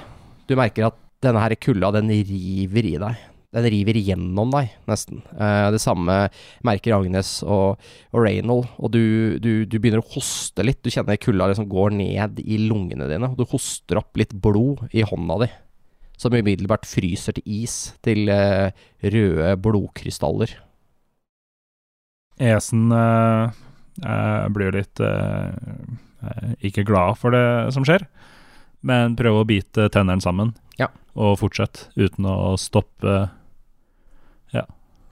Du merker at denne her kulda, den river i deg. Den river gjennom deg, nesten. Eh, det samme merker Agnes og, og Reynold. Og du, du, du begynner å hoste litt. Du kjenner kulda liksom går ned i lungene dine. Og du hoster opp litt blod i hånda di. Som umiddelbart fryser til is. Til eh, røde blodkrystaller. Esen eh, eh, blir litt eh, eh, ikke glad for det som skjer, men prøver å bite tennene sammen Ja. og fortsette uten å stoppe.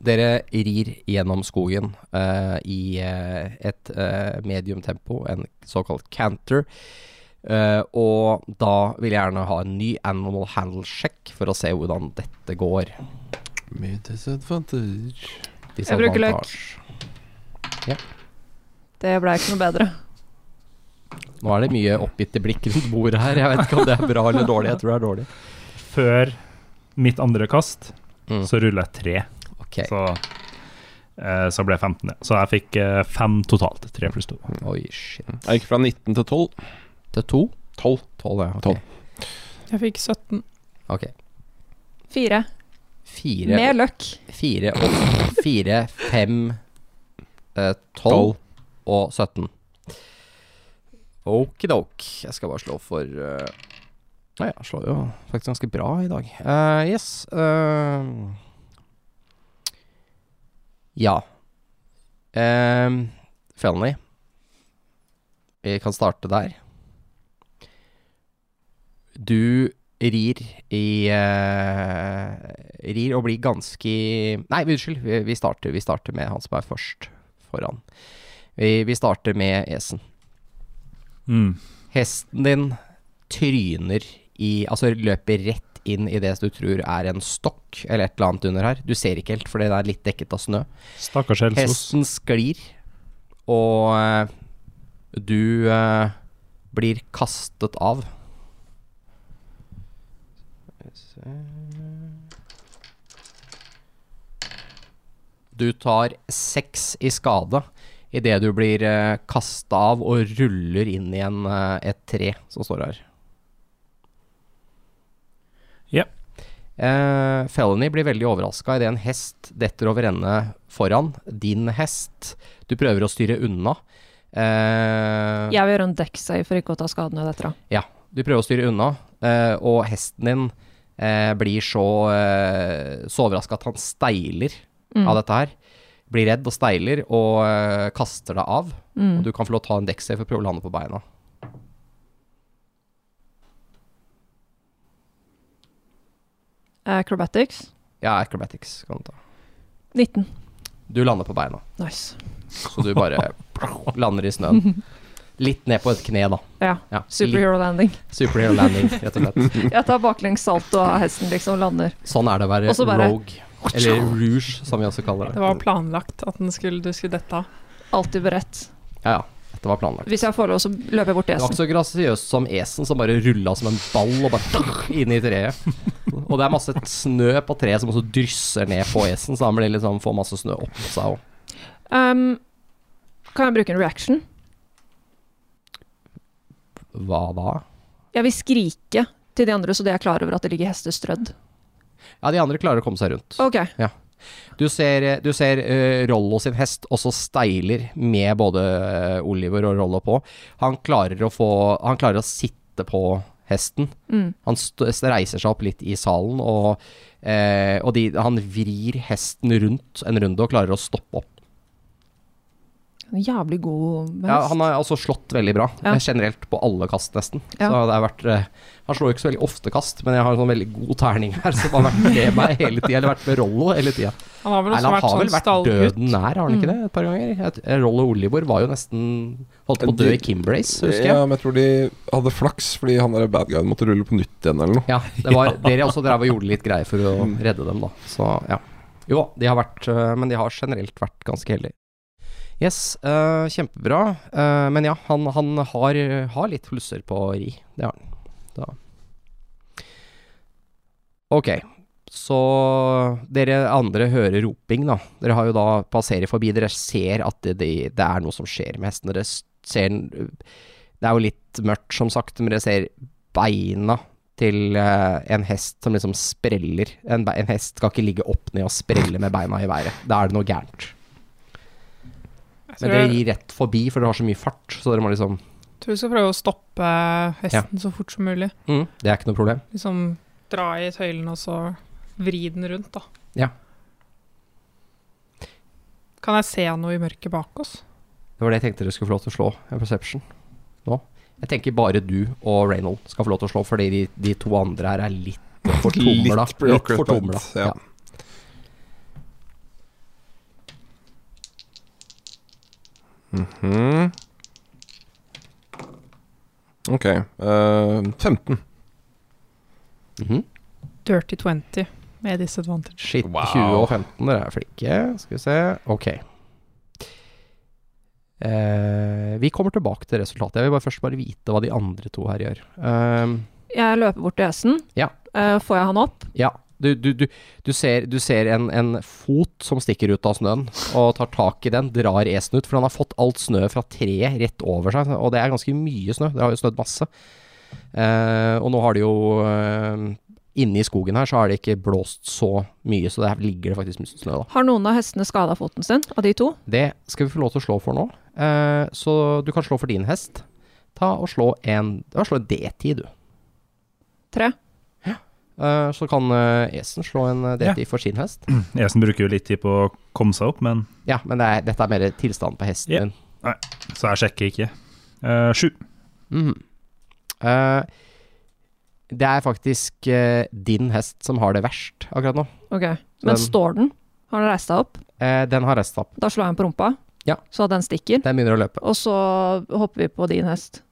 Dere rir gjennom skogen eh, i eh, et eh, medium tempo, en såkalt canter. Eh, og da vil jeg gjerne ha en ny animal handle check for å se hvordan dette går. Med disadvantage. Jeg bruker løk. Disadvantage. Det ble ikke noe bedre. Nå er det mye oppgitte blikk rundt bordet her. Jeg vet ikke om det er bra eller dårlig. Jeg tror det er dårlig. Før mitt andre kast Mm. så ruller jeg tre, Ok, så, eh, så ble jeg 15. ja. Så jeg fikk eh, fem totalt. Tre pluss to. Mm. Oi, shit. Jeg gikk fra 19 til 12. Til to? 12. Tolv, ja. ok. Tolv. Jeg fikk 17. Ok. Fire. Fire, Med løkk. fire, og- fire, fem, eh, tolv. og 17. Okidok. Jeg skal bare slå for eh, Nei, jeg slår jo faktisk ganske bra i dag. Eh, yes. eh, ja. Um, Felony. Vi kan starte der. Du rir i eh, Rir og blir ganske Nei, unnskyld. Vi, vi, starter, vi starter med han som er først foran. Vi, vi starter med esen. Mm. Hesten din tryner i Altså løper rett inn i det du tror er en stokk eller et eller annet under her. Du ser ikke helt, for det er litt dekket av snø. Stakkars Elsos. Hesten sklir, og eh, du eh, blir kastet av. Skal vi se. Du tar seks i skade idet du blir uh, kasta av og ruller inn i en, eh, et tre som står her. Ja. Eh, Felony blir veldig overraska idet en hest detter over ende foran din hest. Du prøver å styre unna. Eh, Jeg vil gjøre en dekksave for ikke å ta skaden av dette. da. du prøver å styre unna, eh, og hesten din eh, blir så, eh, så overraska at han steiler Mm. av dette her. Blir redd og steiler og eh, kaster deg av. Mm. Og du kan få lov å ta en dekksave for å prøve å lande på beina. Eh, Acrobatics. Ja, acrobatics kan du ta. 19. Du lander på beina, Nice. så du bare lander i snøen. Litt ned på et kne, da. Ja. Ja, litt Superhero landing. superhero landing, rett og slett. Jeg tar baklengs salto av hesten, liksom, lander. Sånn er det å være Og så bare- rogue. Eller rouge, som vi også kaller Det det. var planlagt at den skulle, du skulle dette av. Alltid beredt. Ja, ja. Dette var planlagt. Hvis jeg får lov, så løper jeg bort til Det var ikke hesten. så grasiøst som esen som bare rulla som en ball og bare inn i treet. Og det er masse snø på treet som også drysser ned på esen, så han blir liksom, får masse snø opp på seg. Og. Um, kan jeg bruke en reaction? Hva da? Jeg vil skrike til de andre, så de er klar over at det ligger hester strødd. Ja, de andre klarer å komme seg rundt. Ok. Du ser, du ser eh, Rollo sin hest også steiler med både eh, Oliver og Rollo på. Han klarer å få Han klarer å sitte på hesten. Mm. Han st reiser seg opp litt i salen, og, eh, og de, han vrir hesten rundt en runde og klarer å stoppe opp. En jævlig god med Ja, hest. han har også slått veldig bra, Ja. eh, generelt på alle kast nesten. Ja. Så det har vært eh, Han slår ikke så veldig ofte kast, men jeg har en sånn veldig god terning her som har vært med meg hele tida, eller vært med Rollo hele tida. Han har vel også Eller han vært har sånn vel vært stallgutt. Mm. døden nær, har han ikke det? Et par ganger. Jeg t- Rollo Olivor var jo nesten Holdt på å dø i Kimbrace, husker Ja, jeg. men jeg tror de hadde flaks fordi han der bad guyen måtte rulle på nytt igjen eller noe. Ja, det var Dere også drev og gjorde litt greier for å redde dem, da. Så ja. Jo, de har vært øh, Men de har generelt vært ganske heldige. Yes, øh, kjempebra. Øh, men ja, han, han har, har litt plusser på ri. Det har han. Da. Ok, Så dere andre hører roping, da. Dere har jo da passerer forbi. Dere ser at det, det, det er noe som skjer med hesten. Dere s- ser den- Det er jo litt mørkt, som sagt, men dere ser beina til eh, en hest som liksom spreller. En, be- en hest skal ikke ligge opp ned og sprelle med beina i været. Da er det noe gærent. Jeg Men tror, dere jeg, gir rett forbi, for dere har så mye fart, så dere må liksom tror vi skal prøve å stoppe eh, hesten så fort som mulig. mm, Det er ikke noe problem. Liksom dra i tøylene og så vri den rundt, da. Ja. Kan jeg se noe i mørket bak oss? Det var det jeg tenkte dere skulle få lov til å slå, en perception, nå. Jeg tenker bare du og Reynold skal få lov til å slå, fordi de, de to andre her er litt fortumla. Litt preoccupied, ja. Mhm. Ok. eh, 15. Mhm. Dirty 20 med disadvantage. Shit, Wow. 20 og 15, dere er flinke. Skal vi se. Ok. Eh, vi kommer tilbake til resultatet. Jeg vil bare først bare vite hva de andre to her gjør. Ehm, Jeg løper bort til hesten. Ja. Eh, får jeg han opp? ja, du, du, du, du ser, du ser en, en fot som stikker ut av snøen, og tar tak i den, drar esen ut, for han har fått alt snø fra treet rett over seg, og det er ganske mye snø. Det har jo snødd masse. Eh, og nå har det jo eh, Inne i skogen her så har det ikke blåst så mye, så der ligger det faktisk mye snø, da. Har noen av hestene skada foten sin, av de to? Det skal vi få lov til å slå for nå. Eh, så du kan slå for din hest. Ta og slå en, ja, slå en D10, du. Tre. Eh, så kan eh, Esen slå en eh, D10 for sin hest. Esen bruker jo litt tid på å komme seg opp, men Ja, men det er, dette er mer tilstanden på hesten Ja. din. så jeg sjekker ikke. Eh, sju. Mhm. Eh, det er faktisk eh, din hest som har det verst akkurat nå. Ok. den- Men står den? Har den reist seg opp? Eh, den har restapp. Da slår jeg den på rumpa, Ja. så at den stikker. Den begynner å løpe. Og så hopper vi på din hest.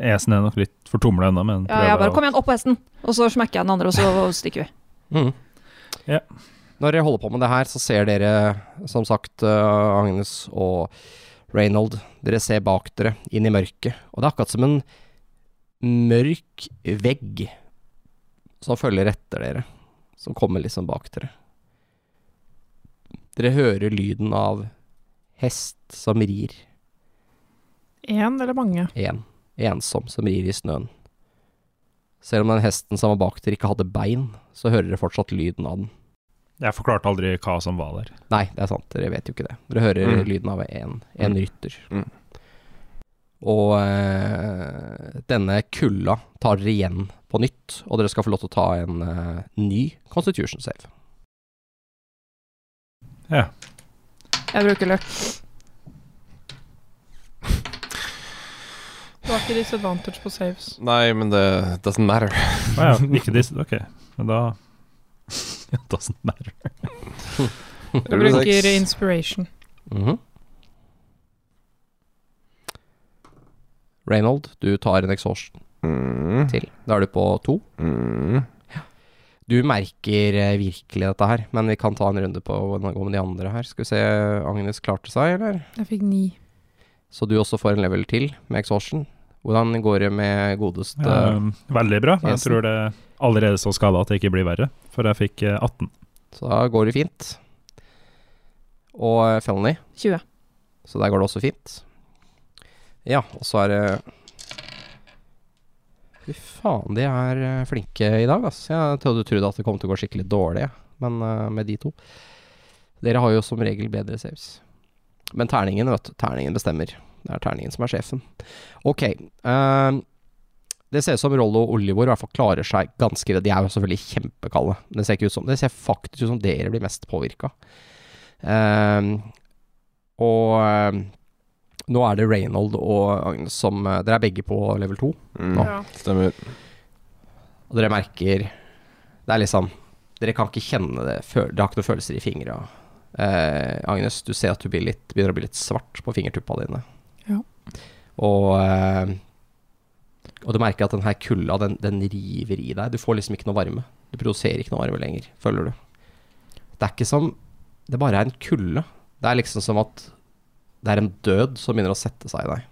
Esen er nok litt fortumla ennå, men Ja, jeg prøver bare å- Kom igjen, opp på hesten! Og så smekker jeg den andre, og så stikker vi. Mhm. Ja. Når dere holder på med det her, så ser dere, som sagt, eh, Agnes og Reynold, dere ser bak dere, inn i mørket. Og det er akkurat som en mørk vegg som følger etter dere, som kommer liksom bak dere. Dere hører lyden av hest som rir, Én eller mange? en, ensom, som rir i snøen. Selv om den hesten som var bak dere ikke hadde bein, så hører dere fortsatt lyden av den. Jeg forklarte aldri hva som var der. Nei, det er sant. Dere vet jo ikke det. Dere hører Mm. lyden av en, en Mm. rytter. Mm. Og eh, denne kulda tar dere igjen på nytt, og dere skal få lov til å ta en eh, ny constitution save. Jeg bruker løk. Det var ikke disadvantage på saves. Nei, men det doesn't matter. Å ja, ikke disse. Ok, men da It doesn't matter. Jeg bruker inspiration. Mhm. Reynold, du tar en exhaustion Mm, til. Da er du på to. mm. Du merker eh, virkelig dette her, men vi kan ta en runde på hvordan det går med de andre her. Skal vi se, Agnes klarte seg, eller? Jeg fikk ni. Så du også får en level til med exhaustion. Hvordan går det med godeste Um, veldig bra. Jeg Esen. tror det er allerede så skada at det ikke blir verre, for jeg fikk eh, 18. Så da går det fint. Og eh, Felony, 20. så der går det også fint. Ja, og så er det Fy faen, de er eh, flinke i dag, ass. Jeg trodde, trodde at det kom til å gå skikkelig dårlig, jeg. men eh, med de to Dere har jo som regel bedre saves. Men terningen, vet du. Terningen bestemmer. Det er terningen som er sjefen. Ok. ehm, det ser ut som Rollo og Olivor i hvert fall klarer seg ganske greit. De er jo selvfølgelig kjempekalde. Det ser ikke ut som Det ser faktisk ut som dere blir mest Eh, påvirka. og ehm, nå er det Reynold og Agnes som eh, Dere er begge på level 2. Mm. Ja. Stemmer. Og dere merker Det er liksom Dere kan ikke kjenne det før, Dere har ikke noen følelser i fingra. Eh, Agnes, du ser at du blir litt, begynner å bli litt svart på fingertuppa dine. Ja. Og eh, Og du merker at den her kulda, den, den river i deg. Du får liksom ikke noe varme. Du produserer ikke noe varme lenger, føler du. Det er ikke som Det bare er en kulde. Det er liksom som at det er en død som begynner å sette seg i deg.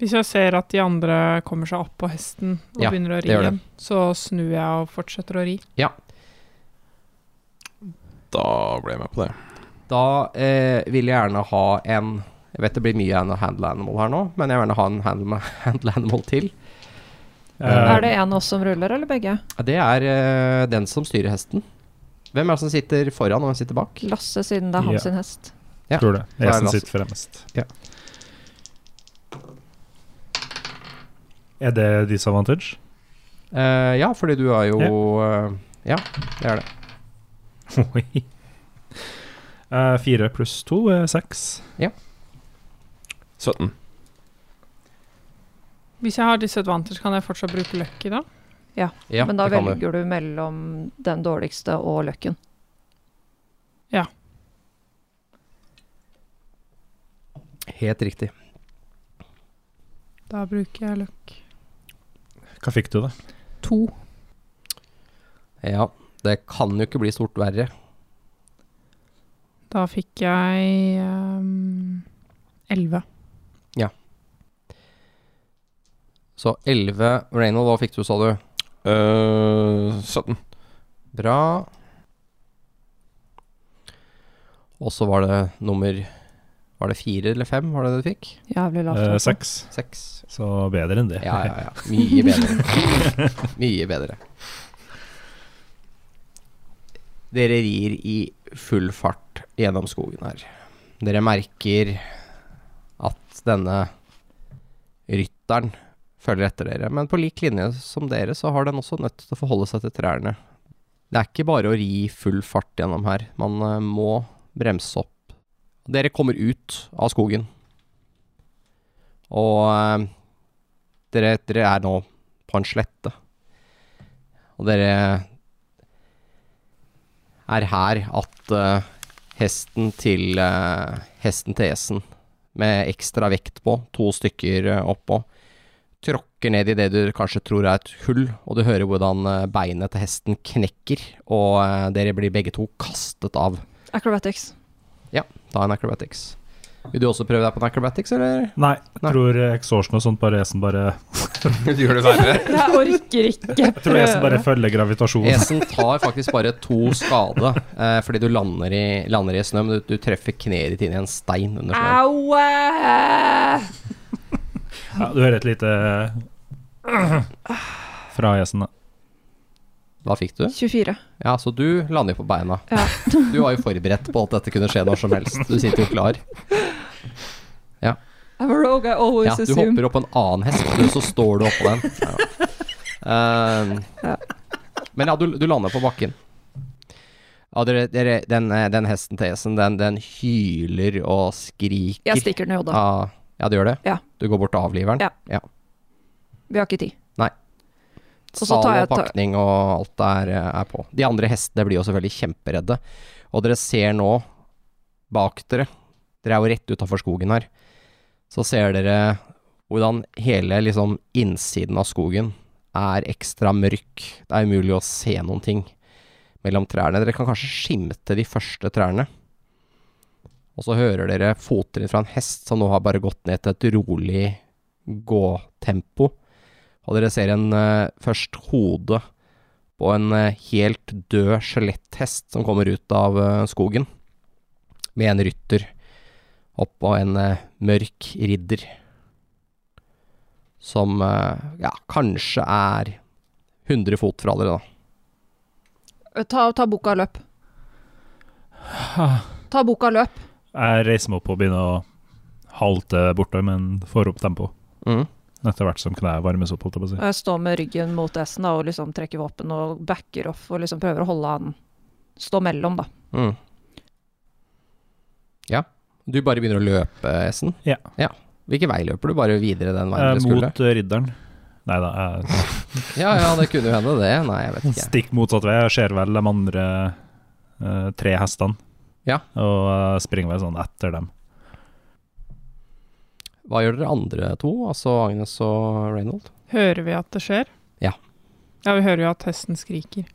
Hvis jeg ser at de andre kommer seg opp på hesten og Ja, begynner å ri det gjør det. igjen, så snur jeg og fortsetter å ri. Da ble jeg med på det. Da eh, vil jeg gjerne ha en Jeg vet det blir mye an- handle animal her nå, men jeg vil gjerne ha en handle, handle animal til. Eh, Er det en av oss som ruller, eller begge? Det er eh, den som styrer hesten. Hvem er det som sitter foran, og hvem sitter bak? Lasse, siden det er Ja. hans sin hest. Ja. Tror det. er det Esen Lasse. sitter fremst. Ja. Er det disadvantage? Eh, ja, fordi du er jo eh, Ja, det er det. Oi. Eh, fire pluss to er seks. 17. Hvis jeg har disadvantage, kan jeg fortsatt bruke lucky da? Ja, Men da det kan du. velger du mellom den dårligste og løkken. Helt riktig. Da bruker jeg luck. Hva fikk du, da? To. Ja, det kan jo ikke bli stort verre. Da fikk jeg ehm, elleve. Så 11 Reynold, hva fikk du, sa du? Eh, 17. Bra. Og så var det nummer Var det fire eller fem var det det du fikk? Jævlig lavt. Eh, altså. seks. Seks. Så bedre enn det. Ja, ja, ja. Mye bedre. Mye bedre. Dere rir i full fart gjennom skogen her. Dere merker at denne rytteren følger etter dere, men på lik linje som dere, så har den også nødt til å forholde seg til trærne. Det er ikke bare å ri i full fart gjennom her. Man eh, må bremse opp. Dere kommer ut av skogen, og eh, dere, dere er nå på en slette. Og dere er her at eh, hesten til eh, hesten til Esen, med ekstra vekt på, to stykker eh, oppå, tråkker ned i det du kanskje tror er et hull, og du hører hvordan eh, beinet til hesten knekker, og eh, dere blir begge to kastet av. Acrobatics. Ta en acrobatics. Vil du også prøve deg på en acrobatics, eller? Nei, jeg Nei. tror eh, exhaustion og sånt bare Esen bare Gjør det verre. Jeg orker ikke Jeg tror Esen bare følger gravitasjonen. Esen Eh, tar faktisk bare to skade eh, fordi du lander i, lander i snø, men du, du treffer kneet ditt inn i en stein under snøen. Au! Eh. Ja, du hører et lite fra Esen, da. Hva fikk du? 24. Ja, så du lander jo på beina. Ja. Du var jo forberedt på at dette kunne skje når som helst. Du sitter jo klar. I'm a rogue, I always Ja, du assume. hopper opp på en annen hest, og så står du oppå den. Ja. Ehm, Ja. men ja, du, du lander på bakken. Ja, dere, dere, den, eh, den hesten til Esen, den, den hyler og skriker. Jeg stikker den i hodet. Ja, ja, du gjør det? Ja. Du går bort til avliveren? Ja. Vi har ikke tid. Og så Sal tar jeg og ta- pakning og alt er, er på. De andre hestene blir jo selvfølgelig kjemperedde. Og dere ser nå, bak dere, dere er jo rett utafor skogen her, så ser dere hvordan hele liksom innsiden av skogen er ekstra mørk. Det er umulig å se noen ting mellom trærne. Dere kan kanskje skimte de første trærne. Og så hører dere fottrinn fra en hest som nå har bare gått ned til et rolig gåtempo. Og dere ser en eh, først hode på en eh, helt død skjeletthest som kommer ut av eh, skogen. Med en rytter oppå en eh, mørk ridder. Som eh, ja, kanskje er 100 fot fra dere, da. Eh, Ta, ta boka og løp. Ta boka og løp. Jeg reiser meg opp og begynner å halte bortover, men får opp tempo etter hvert som knærne varmes opp. Holdt jeg på å si. Og Jeg står med ryggen mot S-en da, og liksom trekker våpen og backer off og liksom prøver å holde han Stå mellom, da. Mm. Ja. Du bare begynner å løpe, Essen? Ja. Hvilken vei løper du? Bare videre den veien Eh, dere skulle? mot eh, ridderen. Nei da, jeg Ja ja, det kunne jo hende, det. Nei, jeg vet ikke. Stikk motsatt vei. Jeg ser vel de andre eh, tre hestene. Ja. Og eh, springer vel sånn etter dem. Hva gjør dere andre to, altså Agnes og Reynold? Hører vi at det skjer? Ja. Ja, vi hører jo at hesten skriker.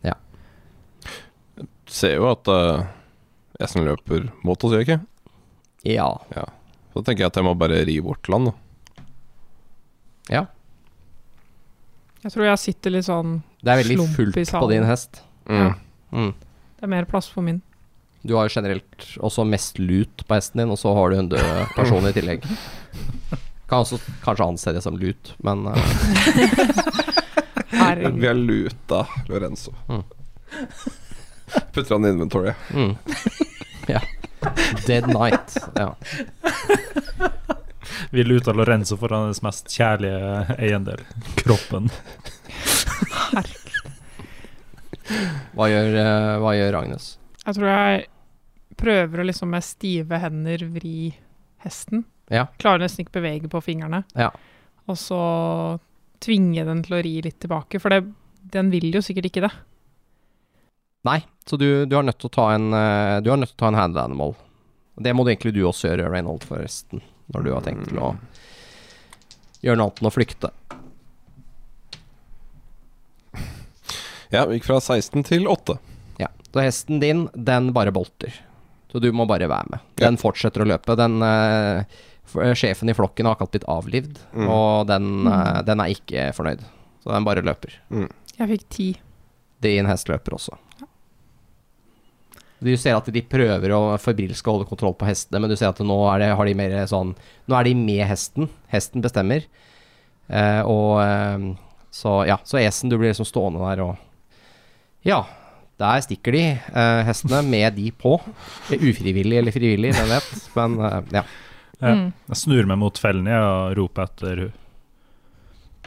Ser jo at eh, uh, Esen løper mot oss, gjør jeg ikke? Ja. Så tenker jeg at jeg må bare ri bort til han, da. Ja. Jeg tror jeg sitter litt sånn Det er veldig Slump i fullt på salen. din hest. Ja. Mm. Mm. Det er mer plass på min. Du har jo generelt også mest lut på hesten din, og så har du en død person i tillegg. Kan også kanskje anse det som lut, men eh, Vi Herregud. har luta Lorenzo. Mm. Putter han i inventory. mm. Ja. Dead Night. Ja. Vil uttale Lorenzo for hans mest kjærlige eiendel, kroppen. Hva gjør, eh, hva gjør Agnes? Jeg tror jeg prøver å liksom med stive hender vri hesten. Ja. Klarer nesten ikke bevege på fingrene. Ja. Og så tvinge den til å ri litt tilbake, for det, den vil jo sikkert ikke det. Så du, du er nødt til å ta en eh, Du er nødt til å ta en handle animal. Det må du egentlig du også gjøre, Reynold, forresten. Når du har tenkt til å Mm. gjøre noe annet enn å flykte. Ja, vi gikk fra 16 til 8. Så hesten din, den bare bolter. Så du må bare være med. Den fortsetter å løpe. Den eh, f- eh, Sjefen i flokken har akkurat blitt avlivd, Mm. og den, eh, den er ikke fornøyd. Så den bare løper. Jeg fikk ti. Din hest løper også. Du ser at de prøver å febrilsk holde kontroll på hestene, men du ser at nå er, det, har de mer sånn, nå er de med hesten. Hesten bestemmer. Eh, og eh, så, ja, så Esen, du blir liksom stående der og Ja, der stikker de, eh, hestene, med de på. Ufrivillig eller frivillig, hvem vet. Men eh, ja. Ja. Mm. Jeg snur meg mot Felny og roper etter henne.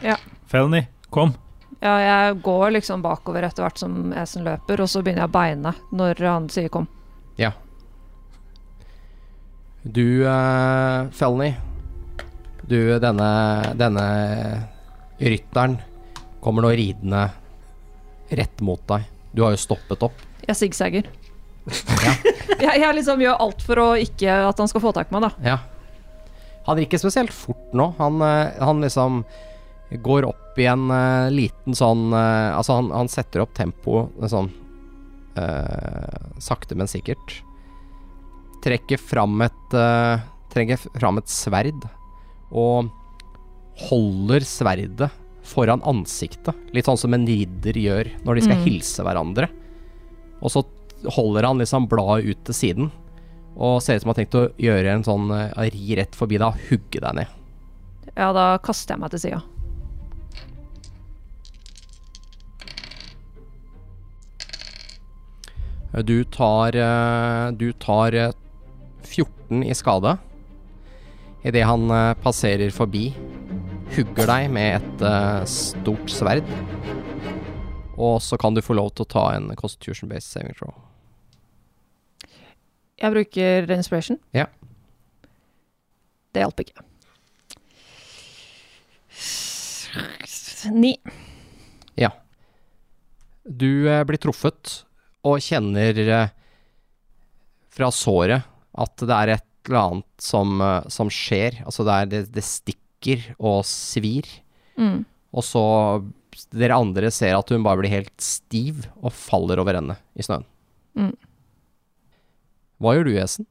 Ja. Felny, kom. Ja, jeg går liksom bakover etter hvert som Esen løper, og så begynner jeg å beine når han sier kom. Du, uh, Felny Du, denne, denne rytteren kommer nå ridende rett mot deg. Du har jo stoppet opp. Jeg zigzagger. jeg, jeg liksom gjør alt for å ikke at han skal få tak i meg, da. Ja. Han er ikke spesielt fort nå. Han, eh, han liksom går opp i en eh, liten sånn eh, Altså, han, han setter opp tempoet eh, sånn eh, sakte, men sikkert. Trekker fram et eh, Trenger fram et sverd og holder sverdet foran ansiktet. Litt sånn som en ridder gjør når de skal Mm. hilse hverandre. Og så holder han liksom bladet ut til siden. Og ser ut som han har tenkt å gjøre en sånn eh, ri rett forbi deg og hugge deg ned. Ja, da kaster jeg meg til sida. Du tar eh, Du tar eh, 14 i skade idet han eh, passerer forbi. Hugger deg med et eh, stort sverd. Og så kan du få lov til å ta en constitution based saving throw. Jeg bruker inspiration. Ja. Det hjalp ikke. Ni. Du eh, blir truffet og kjenner eh, fra såret at det er et eller annet som, eh, som skjer. Altså det, er, det, det stikker og svir. Mm. Og så dere andre ser at hun bare blir helt stiv og faller over ende i snøen. Mm. Hva gjør du, Esen?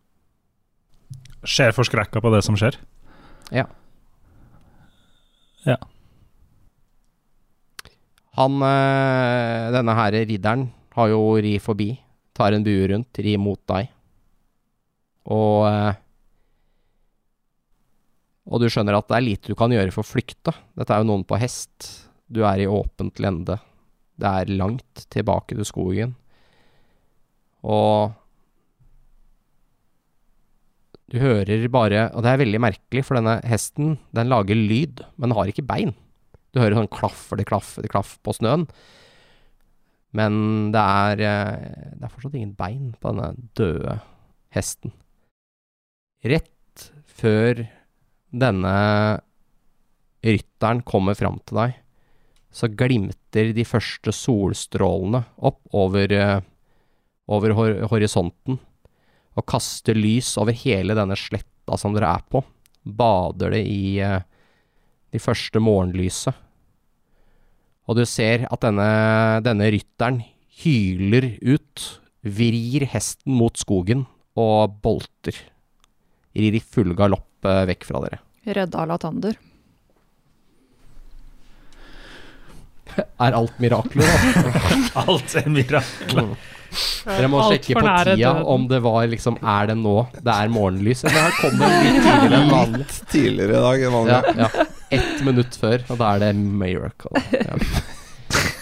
Ser forskrekka på det som skjer. Han, eh, denne her ridderen, har jo ri forbi. Tar en bue rundt, ri mot deg. Og eh, Og du skjønner at det er lite du kan gjøre for å flykte. Dette er jo noen på hest. Du er i åpent lende. Det er langt tilbake til skogen. Og Du hører bare Og det er veldig merkelig, for denne hesten, den lager lyd, men den har ikke bein. Du hører sånn klaff eller klaff eller klaff på snøen. Men det er, eh, det er fortsatt ingen bein på denne døde hesten. Rett før denne rytteren kommer fram til deg, så glimter de første solstrålene opp over, eh, over hor horisonten og kaster lys over hele denne sletta som dere er på. Bader det i eh, de første morgenlyset. Og du ser at denne, denne rytteren hyler ut, vrir hesten mot skogen og bolter. Rir i full galopp eh, vekk fra dere. Redda Latander. er alt mirakler, da. Alt en mirakel. Dere må Alt sjekke for på nære tida døden. om det var liksom Er det nå det er morgenlys, eller her kom det litt tidligere enn vanlig? Tidligere i dag enn vanlig. Ja, ja. Ett minutt før, og da er det miracle. Ja.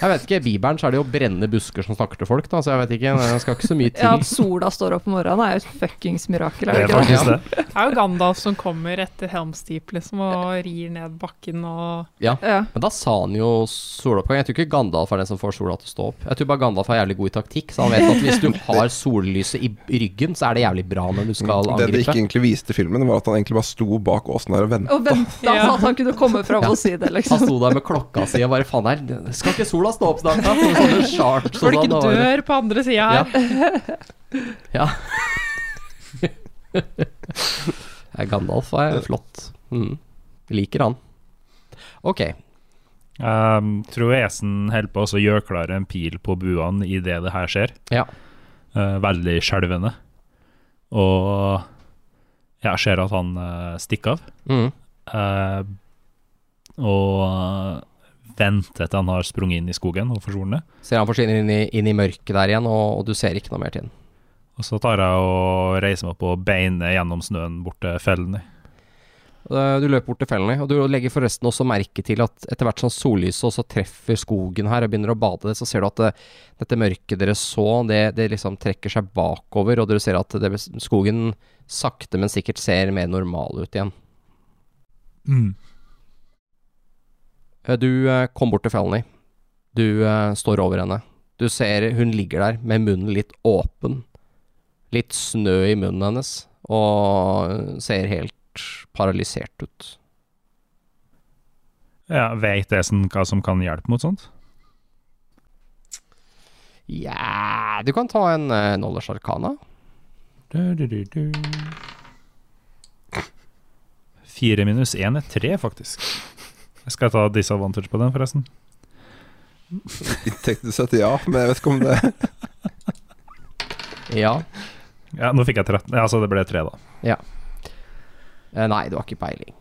Jeg vet ikke, I Bibelen så er det jo brennende busker som snakker til folk, da, så jeg vet ikke. Det skal ikke så mye til. Ja, At sola står opp om morgenen er jo et fuckings mirakel. Det Er det ikke er det? faktisk det. Det er jo Gandalf som kommer etter Helm's Deep liksom, og rir ned bakken og Ja. Men da sa han jo soloppgang. Jeg tror ikke Gandalf er den som får sola til å stå opp. Jeg tror bare Gandalf er jævlig god i taktikk, så han vet at hvis du har sollyset i ryggen, så er det jævlig bra når du skal Det de ikke angripe. egentlig viste i filmen, var at han egentlig bare sto bak åsen der og ventet. Og venta Ja. at han kunne komme fram Ja. og si det, Han liksom. sto der med klokka si og bare faen her, skal ikke sola stå opp snart, da? Sånn Så sånne charts og Folk sånn, da var det- dør på andre sida Ja. her. Ja. Ja, Gandalf er flott. Mm. Liker han. Ok. Um, Troesen holder på å gjøre klar en pil på buene idet det her skjer. Ja. Eh, veldig skjelvende. Og jeg ser at han eh, stikker av. Mm. Eh, og eh, venter til han har sprunget inn i skogen og forsvunnet. Ser han forsvinner inn i, inn i mørket der igjen, og, og du ser ikke noe mer til han. Og så tar jeg og reiser meg opp og beiner gjennom snøen bort til fellene. Eh, Du løper bort til fellene, og du legger forresten også merke til at etter hvert som sollyset også treffer skogen her og begynner å bade det, så ser du at det, dette mørket dere så, det, det liksom trekker seg bakover, og dere ser at det, skogen sakte, men sikkert ser mer normal ut igjen. Eh, Du eh, kom bort til Felny. Du eh, står over henne. Du ser hun ligger der med munnen litt åpen. Litt snø i munnen hennes, og eh, ser helt paralysert ut. Ja, Veit Esen hva som kan hjelpe mot sånt? Ja Du kan ta en eh, knowledge arcana. Du, du, du, du. Fire minus én er tre, faktisk. Jeg skal ta disadvantage på den, forresten. Teknisk sett ja, men jeg vet ikke om det Ja. Ja, Nå fikk jeg 13. Ja, så det ble tre, da. Eh, Nei, du har ikke peiling.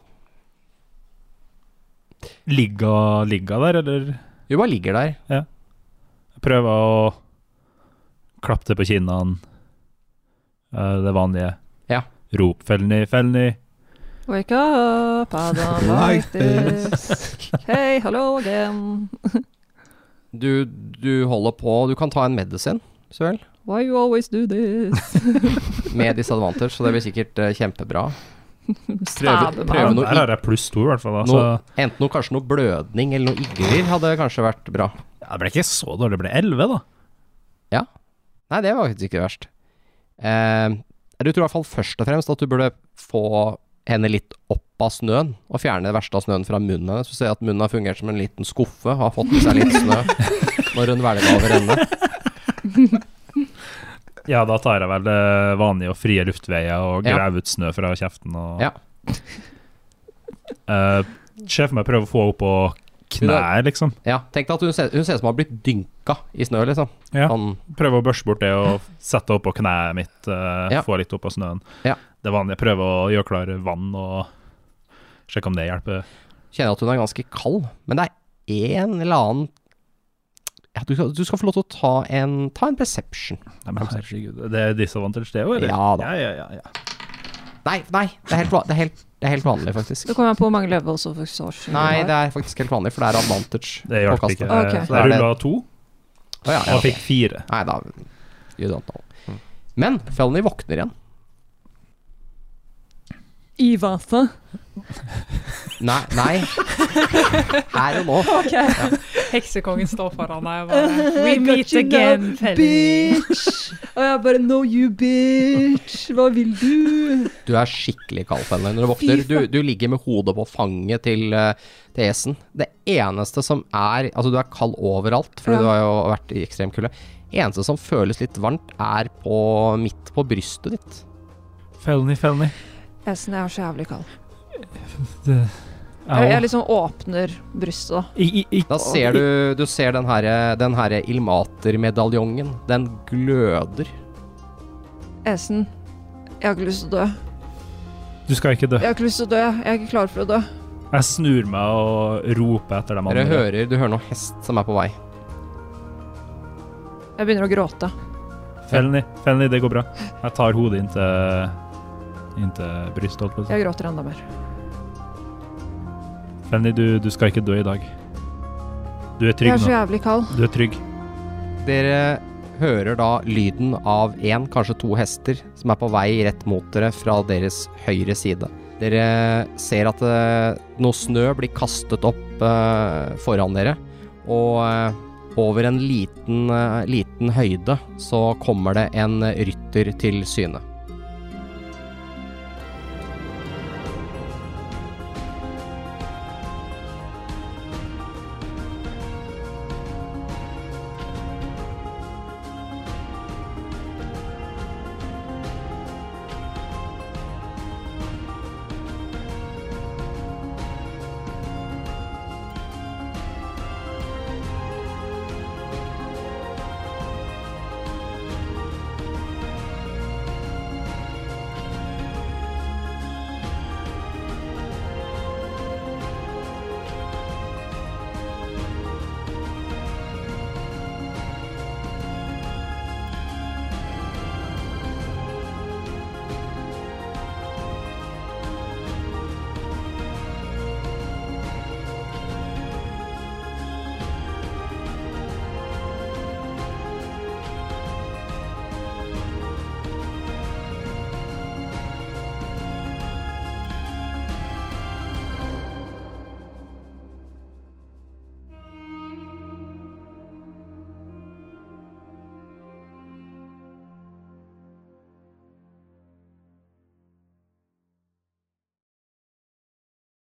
Ligga, ligga der, eller? Du bare ligger der. Prøve å klapte på kinnene. Eh, Det vanlige. Ja. Rop 'Felny, Felny'. Wake up, Adam, like this. Hey, hello again. Du, du holder på. Du kan ta en medisin, så vel. Why you always do this? Med disadvantage, så det blir sikkert eh, kjempebra. Stabbe prøve meg. noe Der har jeg pluss to, i hvert fall. Da. Så Noe, enten noe, kanskje noe blødning eller noe igler hadde kanskje vært bra. ja, det ble ikke så dårlig. Det ble elleve, da. Nei, det var faktisk ikke verst. Eh, du tror i hvert fall først og fremst at du burde få henne litt opp av snøen, og fjerne det verste av snøen fra munnen hennes. Du ser at munnen har fungert som en liten skuffe, og har fått med seg litt snø når hun hvelva over ende. Ja, da tar jeg vel det vanlige og frie luftveier og Ja. graver ut snø fra kjeften og Ja. Eh, Se for meg prøve å få henne på knær, liksom. Ja, tenk deg at hun ser, hun ser ut som hun har blitt dynka i snø, liksom. Ja. Han, Prøve å børste bort det og sette opp på kneet mitt, eh, Ja. få litt opp av snøen. Ja. Det vanlige. Prøve å gjøre klar vann og sjekke om det hjelper. kjenner at hun er ganske kald, men det er en eller annen ja, du, skal, du skal få lov til å ta en, ta en perception. Nei, men herregud, det er disadvantage, det òg, eller? Ja da. Ja, ja, ja, ja. Nei, nei, det er helt, va- det er helt, det er helt vanlig, faktisk. Så kom jeg på hvor mange levels of exhaustion Nei, du det har. er faktisk helt vanlig, for det er advantage. Det på hjalp kastet. ikke. Ok. Så jeg rulla to Å, ja, ja, og ok. fikk fire. Nei, da You don't know. Men Felny våkner igjen. I vatet. Nei, nei. Her og nå. Heksekongen står foran deg og bare We I got meet you again, now, Felny. bitch. Og jeg bare No you bitch. Hva vil du? Du er skikkelig kald, Felny, når du våkner. Du, du ligger med hodet på fanget til, eh, til esen. Det eneste som er Altså, du er kald overalt, for Ja. du har jo vært i ekstrem kulde. Eneste som føles litt varmt, er på midt på brystet ditt. Felny, felny. Esen, jeg er så jævlig kald. Jeg, Au. jeg liksom åpner brystet, da. I, i, i. Da ser du, du ser den herre den herre Ilmater-medaljongen. Den gløder. Esen, jeg har ikke lyst til å dø. Du skal ikke dø. Jeg har ikke lyst til å dø. Jeg er ikke klar for å dø. Jeg snur meg og roper etter dem Dere andre. hører, du hører noe hest som er på vei. Jeg begynner å gråte. Felny, Felny, det går bra. Jeg tar hodet inntil Inntil brystet. holdt på å si. Jeg gråter enda mer. Felny, du, du skal ikke dø i dag. Du er Jeg trygg er så nå. jævlig kald. Du er trygg. Dere hører da lyden av én, kanskje to hester som er på vei rett mot dere fra deres høyre side. Dere ser at eh, noe snø blir kastet opp eh, foran dere, og eh, over en liten, eh, liten høyde så kommer det en rytter til syne.